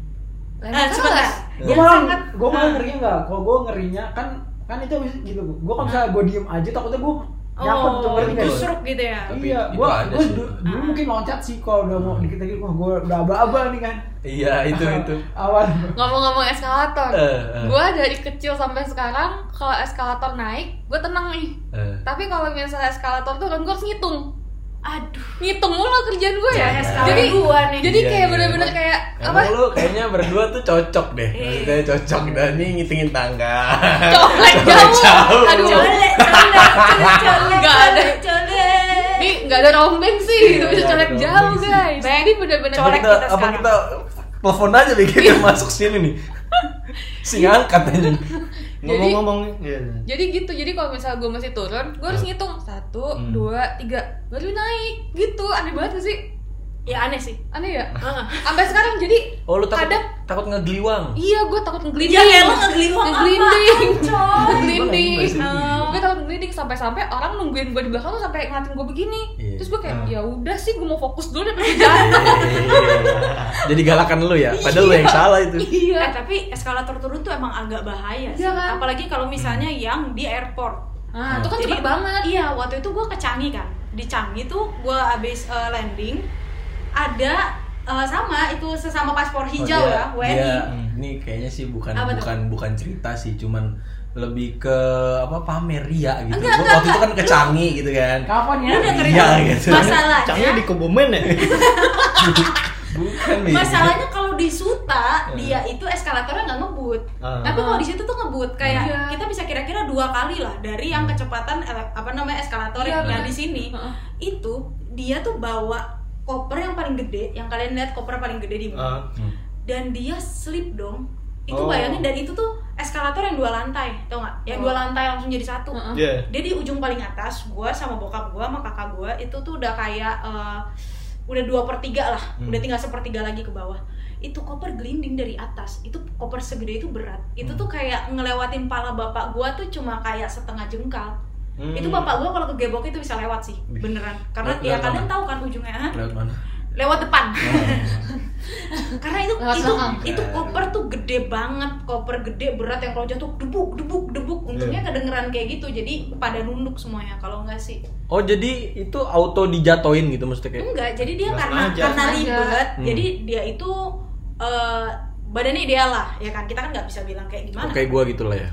Lah,
Eh,
emang
sebentar.
keras.
Gua
Yang
malah
sangat-
gua malah
Ah.
ngerinya enggak. Kalau gua ngerinya kan kan itu habis gitu. Gua kalau misalnya gua diem aja takutnya gua nyangkut tuh
Oh, Ah.
ngerti nggak?
justru gitu ya.
Tapi
Iya,
itu
gua,
ada
gua
sih. Hmm.
du- dulu mungkin loncat sih kalau udah mau dikit dikit wah gua udah aba-aba nih kan. ya?
iya
(laughs)
itu itu
Awal.
Ngomong-ngomong eskalator,
Eh, eh.
gue dari kecil sampai sekarang kalau eskalator naik, gue tenang nih.
Eh,
Tapi kalau misalnya eskalator turun, gue harus ngitung.
Aduh,
Ngitung mulu kerjaan gue ya.
Jangan
eskalator
Jadi
gua nih.
Jadi
Iya,
kayak
iya.
bener-bener kayak apa?
Emang lu kayaknya berdua tuh cocok deh.
Iya.
Maksudnya cocok dan nih ngitungin tangga.
Colek jauh.
(laughs) jauh.
Aduh.
colek,
(laughs)
colek, colek, colek,
Nggak ada.
colek, colek.
Ini nggak ada rombeng sih,
Iya,
itu bisa
nggak
colek
ada
jauh
rombeng sih.
guys. Jadi bener-bener
Apa
Colek
kita,
kita
apa
sekarang.
kita telepon aja bikin dia masuk sini
(laughs)
nih. Sing angkat anjing.
Jadi-
Ngomong-ngomong iya, iya.
Jadi gitu, jadi kalau misalnya gue masih turun, gue harus ngitung satu,
Hmm.
dua, tiga, baru naik gitu. Aneh banget gak sih?
Ya aneh sih.
Aneh ya?
Heeh.
Sampai sekarang jadi
Oh lu takut
kadang
takut ngegeliwang.
iya gue takut ngelinding.
Ya elah ngegelinding Iya, apa? (laughs)
(laughs) Ngegelinding.
Coy.
Ngegelinding.
Ngegelinding.
Gue takut ngelinding sampai-sampai orang nungguin gue di belakang tuh sampai ngeliatin gue begini.
Iya.
Terus gue kayak
Hmm.
ya udah sih gue mau fokus dulu daripada jalan.
Jadi galakan lu ya, padahal lu yang salah itu.
Iya.
Eh, tapi eskalator turun tuh emang agak bahaya sih.
Iya kan?
Apalagi kalau misalnya yang di airport.
Nah, itu kan
Jadi,
cepet banget.
Iya, waktu itu gue ke Canggih kan. Di Canggih tuh gue abis eh, landing ada eh, sama itu sesama paspor hijau ya,
Oh, dia-
WNI.
dia- Ini kayaknya sih bukan
Apa tuh?
bukan bukan cerita sih, cuman lebih ke apa pamer ria gitu. Gua
Enggak, enggak,
waktu itu kan ke Canggih gitu kan.
Kapan ya?
Lu dengerin
Iya, gitu.
masalahnya
Cangnya di Kebumen ya?
Bukan
Iya.
nih.
masalahnya kalau di Suta dia itu eskalatornya nggak ngebut
Ah.
tapi kalau di situ tuh ngebut kayak
Iya.
kita bisa kira-kira dua kali lah dari
Iya.
yang kecepatan ele- apa namanya eskalator
Iya,
yang
bener.
di sini
Heeh.
itu dia tuh bawa koper yang paling gede yang kalian lihat koper paling gede di
Ah,
mana
Hmm.
dan dia slip dong itu
Oh.
bayangin dan itu tuh eskalator yang dua lantai tau nggak yang
Oh.
dua lantai langsung jadi satu
Heeh.
Iya.
dia di ujung paling atas gua sama bokap gua sama kakak gua itu tuh udah kayak eh, udah dua per tiga lah
Hmm.
udah tinggal sepertiga lagi ke bawah itu koper gelinding dari atas itu koper segede itu berat itu
Hmm.
tuh kayak ngelewatin pala bapak gua tuh cuma kayak setengah jengkal
Hmm.
itu bapak gua kalau kegebok itu bisa lewat sih beneran karena
Lewat-
ya
lewat
kalian
mana?
tahu kan ujungnya hah?
Lewat mana?
lewat depan
Hmm.
(laughs) karena itu
Lewat
itu
belakang.
itu koper tuh gede banget koper gede berat yang kalau jatuh debuk debuk debuk
Iya.
untungnya kedengeran kayak gitu jadi pada nunduk semuanya kalau enggak sih
Oh jadi itu auto dijatoin gitu maksudnya kayak
enggak jadi dia
Nggak
karena
sengaja.
karena
Sengaja.
ribet
Hmm.
jadi dia itu eh, badannya ideal lah ya kan kita kan nggak bisa bilang kayak gimana
kayak gua gitu lah ya.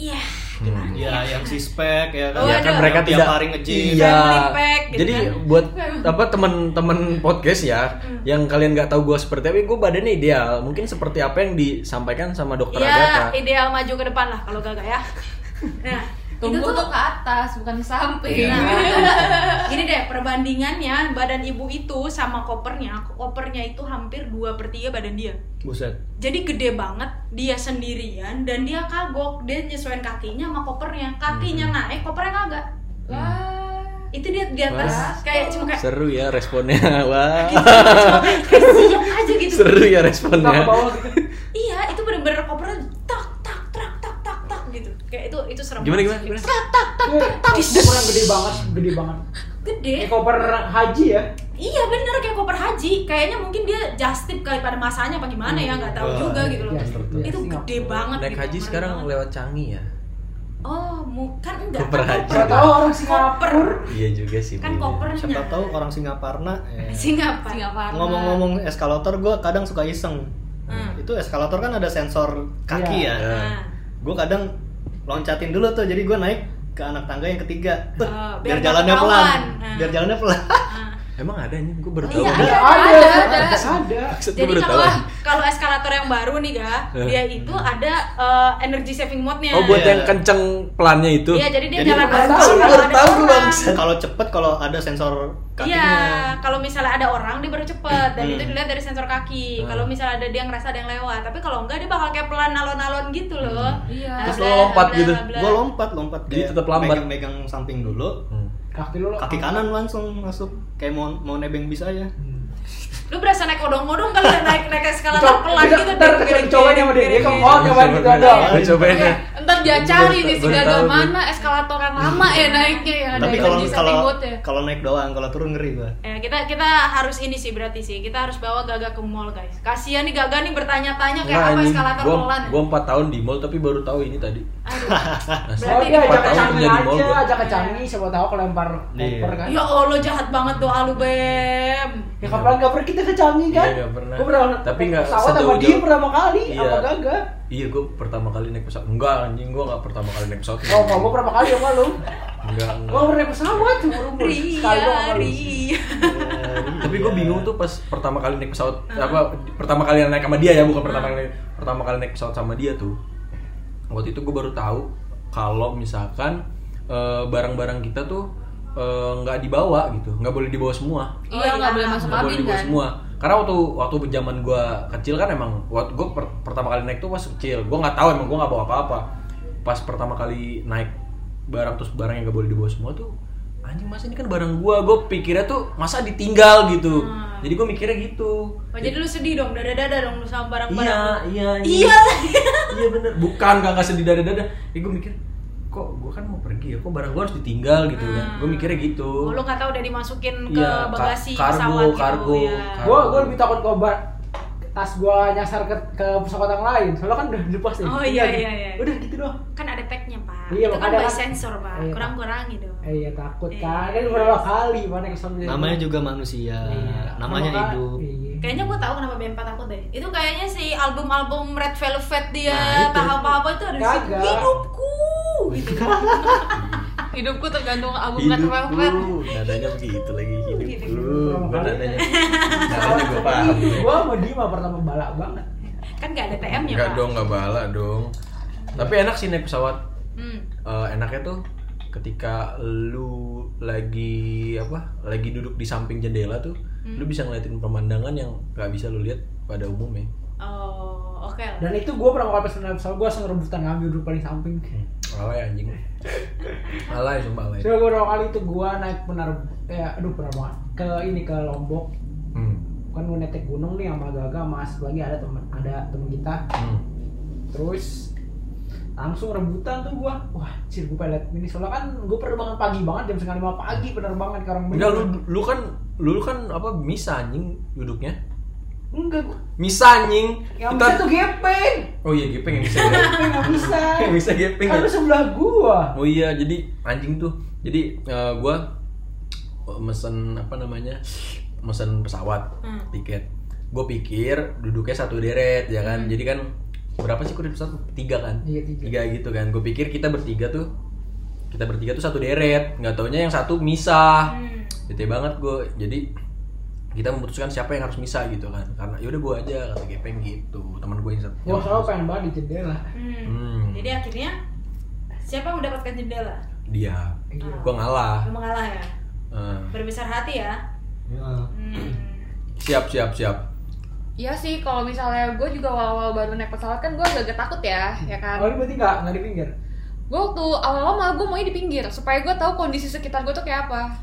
iya gimana
Iya, yang sispek ya kan.
Oh,
ya kan
ada.
mereka
Tiap
tidak
hari nge-gym.
Iya.
Family pack, gitu
Jadi
kan. (laughs) Hmm.
buat apa teman-teman podcast ya, yang kalian nggak tahu gua seperti apa, gua badannya ideal. Mungkin seperti apa yang disampaikan sama dokter
Iya,
Agatha.
ideal maju ke depan lah kalau
(laughs)
gagal ya. Nah,
Tunggu tuh
itu
Iya.
tuh
ke atas, bukan ke samping. (laughs)
Nah, gini deh perbandingannya badan ibu itu sama kopernya kopernya itu hampir 2 per 3 badan dia
Buset.
jadi gede banget dia sendirian dan dia kagok dia nyesuaiin kakinya sama kopernya kakinya
Hmm.
naik kopernya kagak
Wah.
itu dia di atas
Wah.
kayak cuma kayak gitu.
Seru ya
(laughs)
responnya. Wah.
kayak siap aja gitu
Seru ya
Enggak ke
responnya.
bawah gitu.
iya itu bener-bener kopernya tak tak tak tak tak tak gitu kayak itu itu serem
Gimana gimana? gimana?
banget.
Dia kurang gede banget, gede banget.
gede
Kayak koper haji ya.
iya bener kayak koper haji kayaknya mungkin dia justip kali pada masanya apa gimana ya nggak tahu
Wah,
juga gitu loh
iya, iya,
itu
Singapura.
gede banget
Naik
gitu,
haji
ngeri
sekarang
banget.
lewat Canggih ya.
oh mu- kan enggak
Koper
kan
haji.
Enggak tahu orang Singapura.
Iya juga sih.
kan
Bu.
kopernya
Siapa tahu orang Singaparna. ya.
Singapura
Singapura.
Ngomong-ngomong eskalator, gue kadang suka iseng.
Hmm.
Itu eskalator kan ada sensor kaki
Iya.
ya.
Iya.
Nah,
gue kadang loncatin dulu tuh jadi gue naik ke anak tangga yang ketiga Tuh,
Oh, biar
biar, jalannya
nggak
pelan
ketahuan. Nah.
biar jalannya
(laughs)
pelan
ah.
Emang ada nih, gua baru
Oh,
tahu.
iya,
Ada,
ada,
ada,
ada.
ada. ada.
Maksud gua
jadi
baru tahu.
kalau kalau eskalator yang baru nih ga
Eh.
dia itu ada eh, energy saving mode nya
Oh buat
Iya.
yang kenceng pelannya itu.
iya jadi dia
Jadi
jalan
baru
pelan
tahu,
kalau
baru
ada
tahu,
orang.
Bang.
kalau cepet kalau ada sensor kakinya
iya kalau misalnya ada orang dia baru cepet dan
Hmm.
itu dilihat dari sensor kaki.
Hmm.
Kalau misalnya ada dia ngerasa ada yang lewat, tapi kalau enggak dia bakal kayak pelan alon-alon gitu loh.
Iya.
Nah,
Terus
bla,
lo lompat
bla,
gitu.
bla.
Gue lompat, lompat
Jadi tetap lambat.
Megang-megang samping dulu,
Hmm.
kaki lu lo-
kaki kanan langsung masuk kayak mau mau nebeng bis aja.
Hmm.
Lu berasa naik odong-odong kali ya? naik naik
Coba-
eskalator pelan
kita-
gitu
ntar kita cobain sama dia. Dia
kiri-
kalau
kiri-
mau,
kiri.
cobain gitu ada.
Gue Iya, cobain
Iya,
ya.
ntar dia cari nih si
Baru
gagal
tahu gue.
mana eskalatoran lama ya naiknya ya ada
Tapi
yang ya.
kalau
di
kalau
samping botnya.
kalau naik doang, kalau turun ngeri gue.
Ya, kita kita harus ini sih berarti sih. Kita harus bawa Gaga ke mall, guys. Kasihan nih Gaga nih bertanya-tanya
Nah,
kayak apa eskalator
gue
pelan.
gue empat tahun di mall tapi baru tahu ini tadi. Asli.
Oh
Berarti
tahun kerja di mall
iya, ajak ke canggih
empat
aja,
gua. Iya.
ajak ke canggih, siapa tahu kelempar koper kan.
Ya Allah jahat banget doa lu, Bem.
Ya kapan gak pernah kita ke Canggih
Iya,
kan?
nggak pernah.
Gua pernah
Tapi
naik
nggak
pesawat sama
sejauh-
dia pertama kali,
Iya.
sama Gaga.
Iya, gue pertama kali naik pesawat. Enggak, anjing gue nggak pertama kali naik pesawat.
Oh, kalau gua pertama kali sama lu.
Enggak,
(laughs)
enggak.
Gua pernah naik pesawat umur-umur sekali gua
Ria,
sama lu.
Ria.
(laughs) tapi gue bingung tuh pas pertama kali naik pesawat apa pertama kali naik sama dia ya bukan pertama kali pertama kali naik pesawat sama dia tuh waktu itu gue baru tahu kalau misalkan eh, barang-barang kita tuh eh, nggak dibawa gitu nggak boleh dibawa semua
Iya nggak boleh masuk
nggak boleh
kabin
dibawa
kan.
semua karena waktu waktu zaman gue kecil kan emang waktu gue pertama kali naik tuh pas kecil gue nggak tahu emang gue nggak bawa apa-apa pas pertama kali naik barang terus barang yang nggak boleh dibawa semua tuh anjing masa ini kan barang gue gue pikirnya tuh masa ditinggal gitu jadi gue mikirnya gitu
Hmm. Oh, jadi lu sedih dong, dada-dada dong lu sama
iya
barang-barang.
iya
Iya.
iya bener bukan gak nggak sedih dada dada ya gue mikir kok gue kan mau pergi ya kok barang gue harus ditinggal gitu kan gue mikirnya gitu
Hmm. Oh, lu kata udah dimasukin ke
Iya, ka-
bagasi
kargo,
pesawat gitu,
kargo.
ya.
Gua gua lebih takut kobar tas gua nyasar ke, ke pesawat yang lain. Soalnya kan udah dilepas nih.
Oh,
Tinggal
iya, iya,
gitu.
iya.
Udah gitu doang.
Kan ada tagnya, Pak.
Iya,
Itu kan
makanya
by
kan-
sensor, Pak.
Iya.
Kurang-kurangi dong.
Eh, iya takut
Iya.
kan. Kan berapa kali mana ke sana.
Namanya juga manusia,
Iya.
namanya
Pertama kali-
hidup.
Iya.
Kayaknya gue tahu kenapa BM4 takut deh. Itu kayaknya si album-album Red Velvet dia
Nah, itu.
tahap apa itu ada di situ.
Kagak.
Hidupku gitu.
Hidupku tergantung album Red Velvet.
hidupku nadanya begitu lagi hidupku gue nadanya nadanya gue paham
Ih, Iya. Gua mau Dima pertama balak banget.
kan gak ada TM-nya,
nggak
Pak.
dong nggak bala dong tapi enak sih naik pesawat
Hmm.
Eh, enaknya tuh ketika lu lagi apa lagi duduk di samping jendela tuh lu bisa ngeliatin pemandangan yang nggak bisa lu lihat pada umumnya
Oh, oke. lah.
Dan itu gua pertama kali pesen naik pesawat, gua langsung rebutan ngambil duduk paling samping.
Hmm. alay anjing alay sumpah alay
Soalnya gua pertama kali itu gua naik benar eh aduh pernah banget ke ini ke Lombok
hmm.
kan gua netek gunung nih sama Gaga Mas lagi ada temen ada temen kita
Hmm.
terus langsung rebutan tuh gua wah cir gua pengen liat ini soalnya kan gua penerbangan pagi banget jam setengah lima pagi penerbangan ke orang
enggak lu lu kan lu kan apa misa anjing duduknya
enggak gua
misa anjing
yang
Kita-
bisa tuh gepeng
oh iya gepeng yang bisa
gepeng nggak bisa
yang bisa gepeng
kan
ya?
lu sebelah gua
(laughs) Oh iya, jadi anjing tuh. Jadi eh, gua eh, mesen apa namanya? mesen pesawat,
Hmm.
tiket. Gue pikir duduknya satu deret ya kan. Jadi kan berapa sih kurang pesawat? Tiga kan?
Hmm. Iya, tiga.
gitu kan. Gue pikir kita bertiga tuh kita bertiga tuh satu deret, nggak taunya yang satu misah.
Hmm.
Bete banget gue. Jadi kita memutuskan siapa yang harus misah gitu kan. Karena yaudah gue aja kata gepeng gitu. Teman gue yang satu.
gua Ya, soalnya pengen banget di jendela
Hmm.
Hmm.
Jadi akhirnya siapa yang mendapatkan jendela?
Dia.
Iya.
Gue ngalah.
Lu mengalah ya.
Eh,
Berbesar hati ya.
Ya.
Iya.
Hmm.
siap siap siap.
Iya sih, kalau misalnya gue juga awal-awal baru naik pesawat kan gue agak takut ya, ya kan.
oh lu berarti nggak nggak di pinggir
Gue waktu awal-awal malah gue maunya di pinggir supaya gue tahu kondisi sekitar gue tuh kayak apa.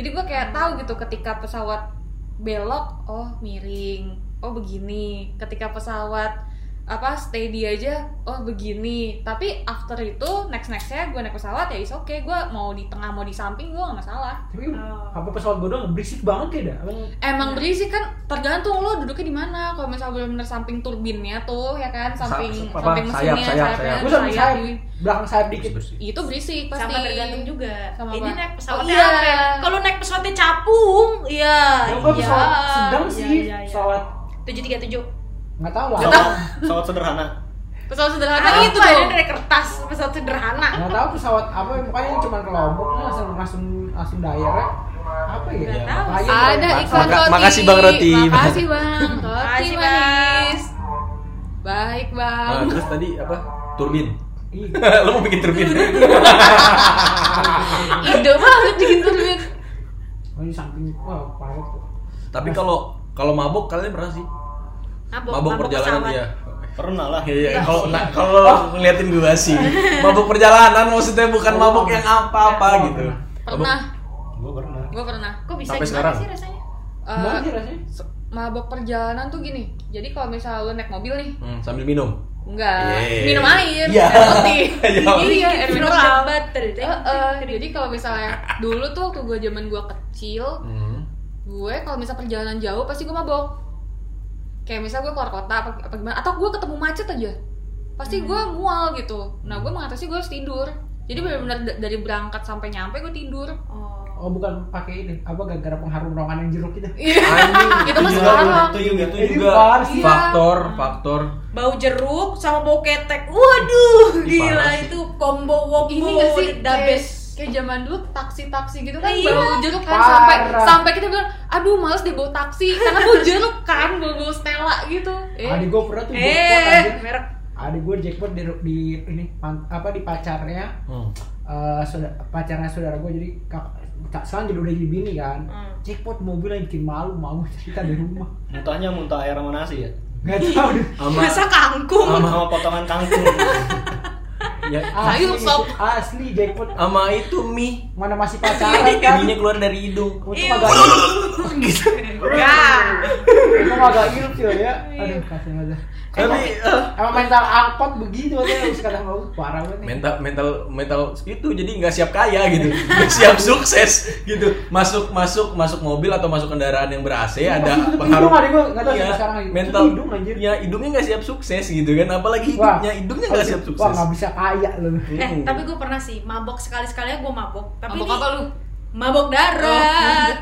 Jadi gue kayak tahu gitu ketika pesawat belok, oh miring, oh begini. Ketika pesawat apa steady aja, oh begini. Tapi after itu next nextnya gue naik pesawat ya is oke, gue mau di tengah mau di samping gue nggak masalah.
tapi
Oh.
apa pesawat gua doang berisik banget ya dah Emang-
Iya.
Emang berisik kan tergantung lo duduknya di mana. Kalau misalnya bener-bener samping turbinnya tuh ya kan, samping
Sa- apa?
samping
Sayap,
mesinnya,
sayap,
sayapnya,
sayap.
gua sampai
sayap.
sayap belakang sayap dikit
bersih
Itu berisik pasti.
Sama tergantung juga.
Sama
Ini
apa?
naik
Oh,
pesawatnya
iya.
apa? ya? Kalau naik pesawatnya capung, iya.
Ya, gua
iya.
pesawat sedang sih
Iya, iya,
pesawat
Tujuh tiga tujuh.
nggak tahu lah
Pesawat,
Iya.
pesawat sederhana.
Pesawat sederhana gitu
Apa
itu tuh.
Ini dari kertas pesawat sederhana.
nggak tahu pesawat apa pokoknya ini cuma ke Lombok ini langsung langsung langsung direct apa ya
Nggak tahu.
Layu,
Ada
Pak.
iklan
Iya, Maka-
roti.
makasih, Bang Roti.
Makasih
(laughs)
Bang Roti
Makasih, Bang.
manis. Baik Bang.
Ah, terus tadi apa (laughs) turbin
Ih,
lo mau bikin turbin
Ide banget bikin turbin.
(laughs) Oh, di samping wah parah tuh.
(laughs) Tapi kalau kalau mabuk kalian pernah sih?
Mabok,
Mabuk perjalanan
pesawat.
iya.
Pernah lah.
Iya, kalau nah, kalau ngeliatin gue (laughs) sih. Mabuk perjalanan maksudnya bukan mabuk yang apa-apa gitu.
Pernah,
Gue pernah.
gue pernah.
Kok bisa
Sampai
gimana
sekarang.
sih rasanya?
Eh,
Gimana sih rasanya?
mabok perjalanan tuh gini. Jadi kalau misalnya lu naik mobil nih,
Mabuk- hmm, sambil minum.
enggak
Iya.
minum air,
Iya.
air putih.
(laughs) Iya.
Iya, air
minum
mineral.
obat terus.
Eh, eh, jadi kalau misalnya dulu tuh waktu gue zaman gue kecil,
Hmm.
gue kalau misal perjalanan jauh pasti gue mabok kayak misal gue keluar kota apa, apa gimana atau gue ketemu macet aja pasti
Hmm.
gue mual gitu nah gue mengatasi gue harus tidur jadi benar-benar da- dari berangkat sampai nyampe gue tidur
Oh.
Oh, bukan pakai ini. Apa gara-gara pengharum ruangan yang jeruk gitu. itu?
Eh.
Anjing,
itu mah
juga
sekarang
(laughs) Itu juga, itu iya.
Ini
juga.
parah sih.
Faktor, faktor.
Bau jeruk sama bau ketek. Waduh,
Ih,
gila
parah sih.
itu combo wombo
ini gak sih
the
kayak,
best.
kayak zaman dulu taksi-taksi gitu kan
Iya.
bau jeruk kan
Parah.
sampai sampai kita bilang aduh males deh bau taksi karena bau jeruk kan bau bau stella gitu
Adik
eh
gue pernah tuh jackpot
Eh,
anjir.
merek.
Adik gue jackpot di, di ini pan- apa di pacarnya
Hmm.
eh saudara, pacarnya saudara gue jadi kak sekarang jadi udah jadi bini kan
Hmm.
jackpot mobil yang bikin malu mau cerita di rumah
Muntahnya muntah air sama nasi ya.
nggak tahu
(laughs)
deh
Sama
Masa kangkung.
Sama-
Sama potongan kangkung. (laughs)
ya,
asli,
Sayur sop.
asli jackpot
sama itu mie.
mana
(laughs)
masih
Iya,
pacaran kan
Minyak keluar dari hidung.
untung agak ilfil
(laughs) Ya.
untung agak ilfil
Iya.
ya aduh kasih aja
Tapi eh,
emang mental angkot begitu aja harus kadang mau parah banget nih.
mental mental mental itu jadi nggak siap kaya gitu nggak siap sukses gitu masuk masuk masuk mobil atau masuk kendaraan yang ber AC
Iya,
ada
Tutup
pengaruh
hidung ada gua, nggak tahu
Iya,
sampai sekarang lagi. Tutup
mental
hidung, anjir.
ya hidungnya nggak siap sukses gitu kan apalagi hidungnya hidungnya nggak siap
wah
sukses
nggak bisa kaya lu
Eh, tapi gue pernah sih mabok sekali-sekalinya gue mabok. Tapi
mabok
ini-
apa lu Oh,
mabok darat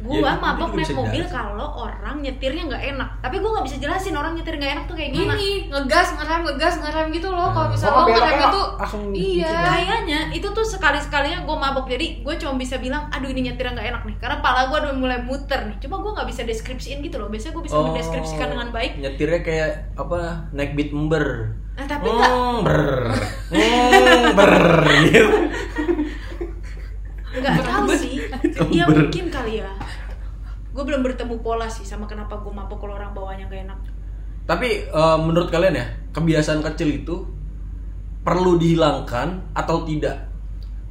Ya,
gua
itu-
mabok
itu
naik
bisa
mobil
dijelaskan.
kalau orang nyetirnya nggak enak tapi gua nggak bisa jelasin orang nyetir nggak enak tuh kayak gimana
gini ngegas ngerem ngegas ngerem gitu loh kalau
Hmm.
misalnya
Oh,
lo ngerem
beloknya
itu
langsung gitu.
iya
kayaknya itu tuh sekali sekalinya gua mabok jadi gua cuma bisa bilang aduh ini nyetirnya nggak enak nih karena pala gua udah mulai muter nih cuma gua nggak bisa deskripsiin gitu loh biasanya gua bisa
Oh.
mendeskripsikan dengan baik
Oh, nyetirnya kayak apa naik beat ember
nah, tapi
Oh.
nggak
Mm, ber Mm, ber gitu.
nggak tahu sih iya
Ber.
mungkin kali ya gue belum bertemu pola sih sama kenapa gue mabok kalau orang bawahnya nggak enak
Tapi eh, menurut kalian ya, kebiasaan kecil itu perlu dihilangkan atau tidak?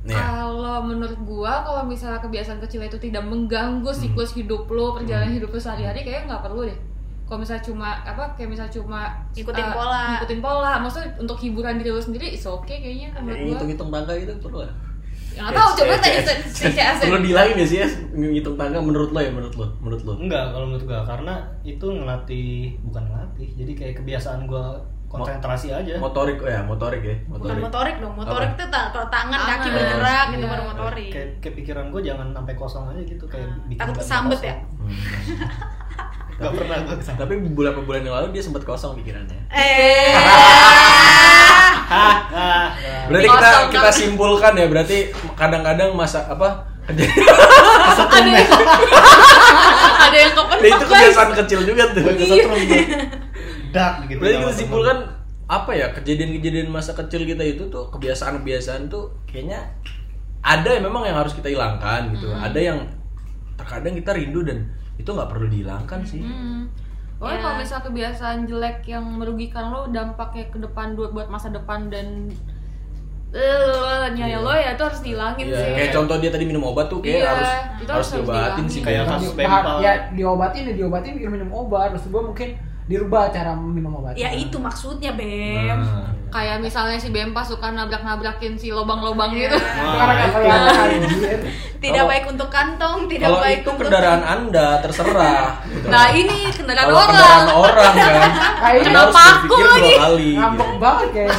Nih
Eh,
ya.
Kalau menurut gua, kalau misalnya kebiasaan kecil itu tidak mengganggu
Hmm.
siklus hidup lo, perjalanan hidup lo sehari-hari, kayaknya nggak perlu deh. Kalau misalnya cuma apa, kayak misalnya cuma
Ngikutin
eh,
pola.
ngikutin pola, maksudnya untuk hiburan diri lo sendiri, is oke kayaknya
Yang
menurut gua.
hitung-hitung tangga Ya itu gitu. perlu ya?
Yang nggak tahu, coba tanya si si CSN.
Perlu dihilangin ya sih ya, ngitung tangga menurut lo ya, menurut lo, menurut lo.
Enggak kalau menurut gua karena itu ngelatih bukan ngelatih. Jadi kayak kebiasaan gua konsentrasi aja.
Motorik, oh ya motorik ya,
bukan
motorik.
motorik dong motorik
Apa?
tuh ta- kalau tangan kaki
Tangan.
bergerak gitu
Iya.
baru motorik
Kayak kayak pikiran gua jangan sampai kosong aja gitu kayak bikin
Ah, takut
badan
kesambet
kosong.
ya
Hmm.
Nggak pernah
(laughs)
gua kesambet.
Tapi beberapa bulan yang lalu dia sempat kosong pikirannya.
eh
(laughs)
Hah, hah, hah.
Berarti kita
Kosong,
kita
tapi-
simpulkan ya, berarti kadang-kadang masa apa? (laughs)
(laughs) Ada yang (laughs) ada yang
Nah, itu
kepentok guys.
kebiasaan kecil juga tuh.
Gua
Iya.
kesetrum gua. Dak gitu.
Berarti
sama
kita
temen.
simpulkan apa ya kejadian-kejadian masa kecil kita itu tuh kebiasaan-kebiasaan tuh kayaknya ada yang memang yang harus kita hilangkan gitu. Ada yang terkadang kita rindu dan itu nggak perlu dihilangkan sih.
Hmm. Pokoknya
Ya.
kalau misalnya kebiasaan jelek yang merugikan lo, dampaknya ke depan buat buat masa depan dan eh
Iya.
nyanyi lo ya itu harus dihilangin
Iya,
sih.
Kayak contoh dia tadi minum obat tuh kayak
Iya,
harus
itu
harus
harus
diobatin
dihilangin.
sih Nah.
Kayak
kayaknya.
kasus
Bahar-
mental.
ya diobatin ya diobatin minum minum obat maksud gue mungkin dirubah cara minum obat
ya itu maksudnya bem
Nah,
Kayak misalnya si Bempa suka nabrak-nabrakin si lobang-lobang
Iya.
gitu.
karena
Ah,
nggak kelihatan anjir
tidak
Kalau-
baik untuk kantong tidak
Kalau
baik
itu
untuk
kendaraan Anda terserah. gitu.
Nah ini kendaraan
Kalau
orang.
kendaraan orang kan.
Kayaknya
Anda harus
kenapa aku
berpikir dua
lagi?
kali.
ngambek banget kayak
(laughs)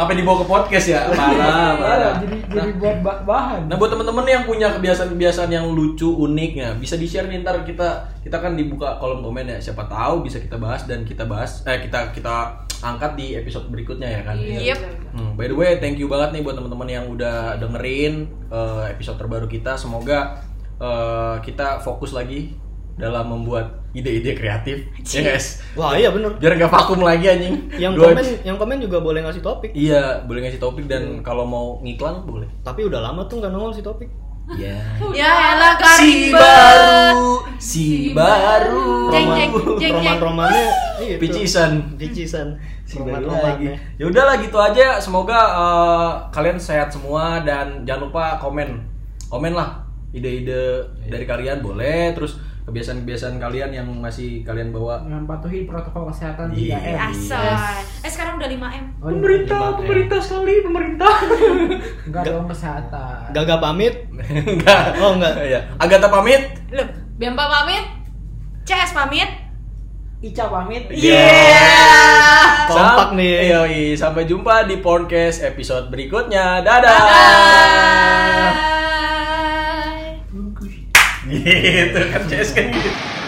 Apa yang dibawa ke podcast ya? Parah, parah.
Iya, jadi
Nah,
jadi buat ba- bahan
Nah buat temen-temen yang punya kebiasaan-kebiasaan yang lucu unik ya bisa di share nih ntar kita kita kan dibuka kolom komen ya siapa tahu bisa kita bahas dan kita bahas eh kita kita angkat di episode berikutnya ya kan.
Iya.
Yep.
Hmm, by the way thank you banget nih buat temen-temen yang udah dengerin eh, episode terbaru kita semoga eh, kita fokus lagi dalam membuat ide-ide kreatif ya guys
Wah, iya bener
biar nggak vakum lagi anjing.
Yang
Dua-
komen Iya. yang komen juga boleh ngasih topik.
Iya boleh ngasih topik dan kalau mau ngiklan boleh.
(laughs) Tapi udah lama tuh nggak nongol si topik.
Ya.
ya elah
Si
karibet
baru, si baru.
Jeng, jeng, jeng,
roman
jeng.
romannya
Picisan.
picisan
Si
roman
baru
romannya
lagi. Ya udahlah gitu aja. Semoga eh, kalian sehat semua dan jangan lupa komen. Komen lah ide-ide dari kalian boleh. Terus kebiasaan-kebiasaan kalian yang masih kalian bawa. (laughs)
Dengan patuhi protokol kesehatan
Iya.
3M.
Asal. Eh sekarang udah 5M.
Oh, pemerintah,
Lima M.
sekali, pemerintah. Enggak dong kesehatan.
gagal pamit
enggak.
Oh, enggak.
Iya. Agatha pamit.
Loh, Bempa pamit. CS pamit.
Ica pamit.
Iya.
Yeah.
Kompak nih.
Yoi, sampai jumpa di podcast episode berikutnya. Dadah.
Bye.
Iya. Gitu kan CS kan gitu.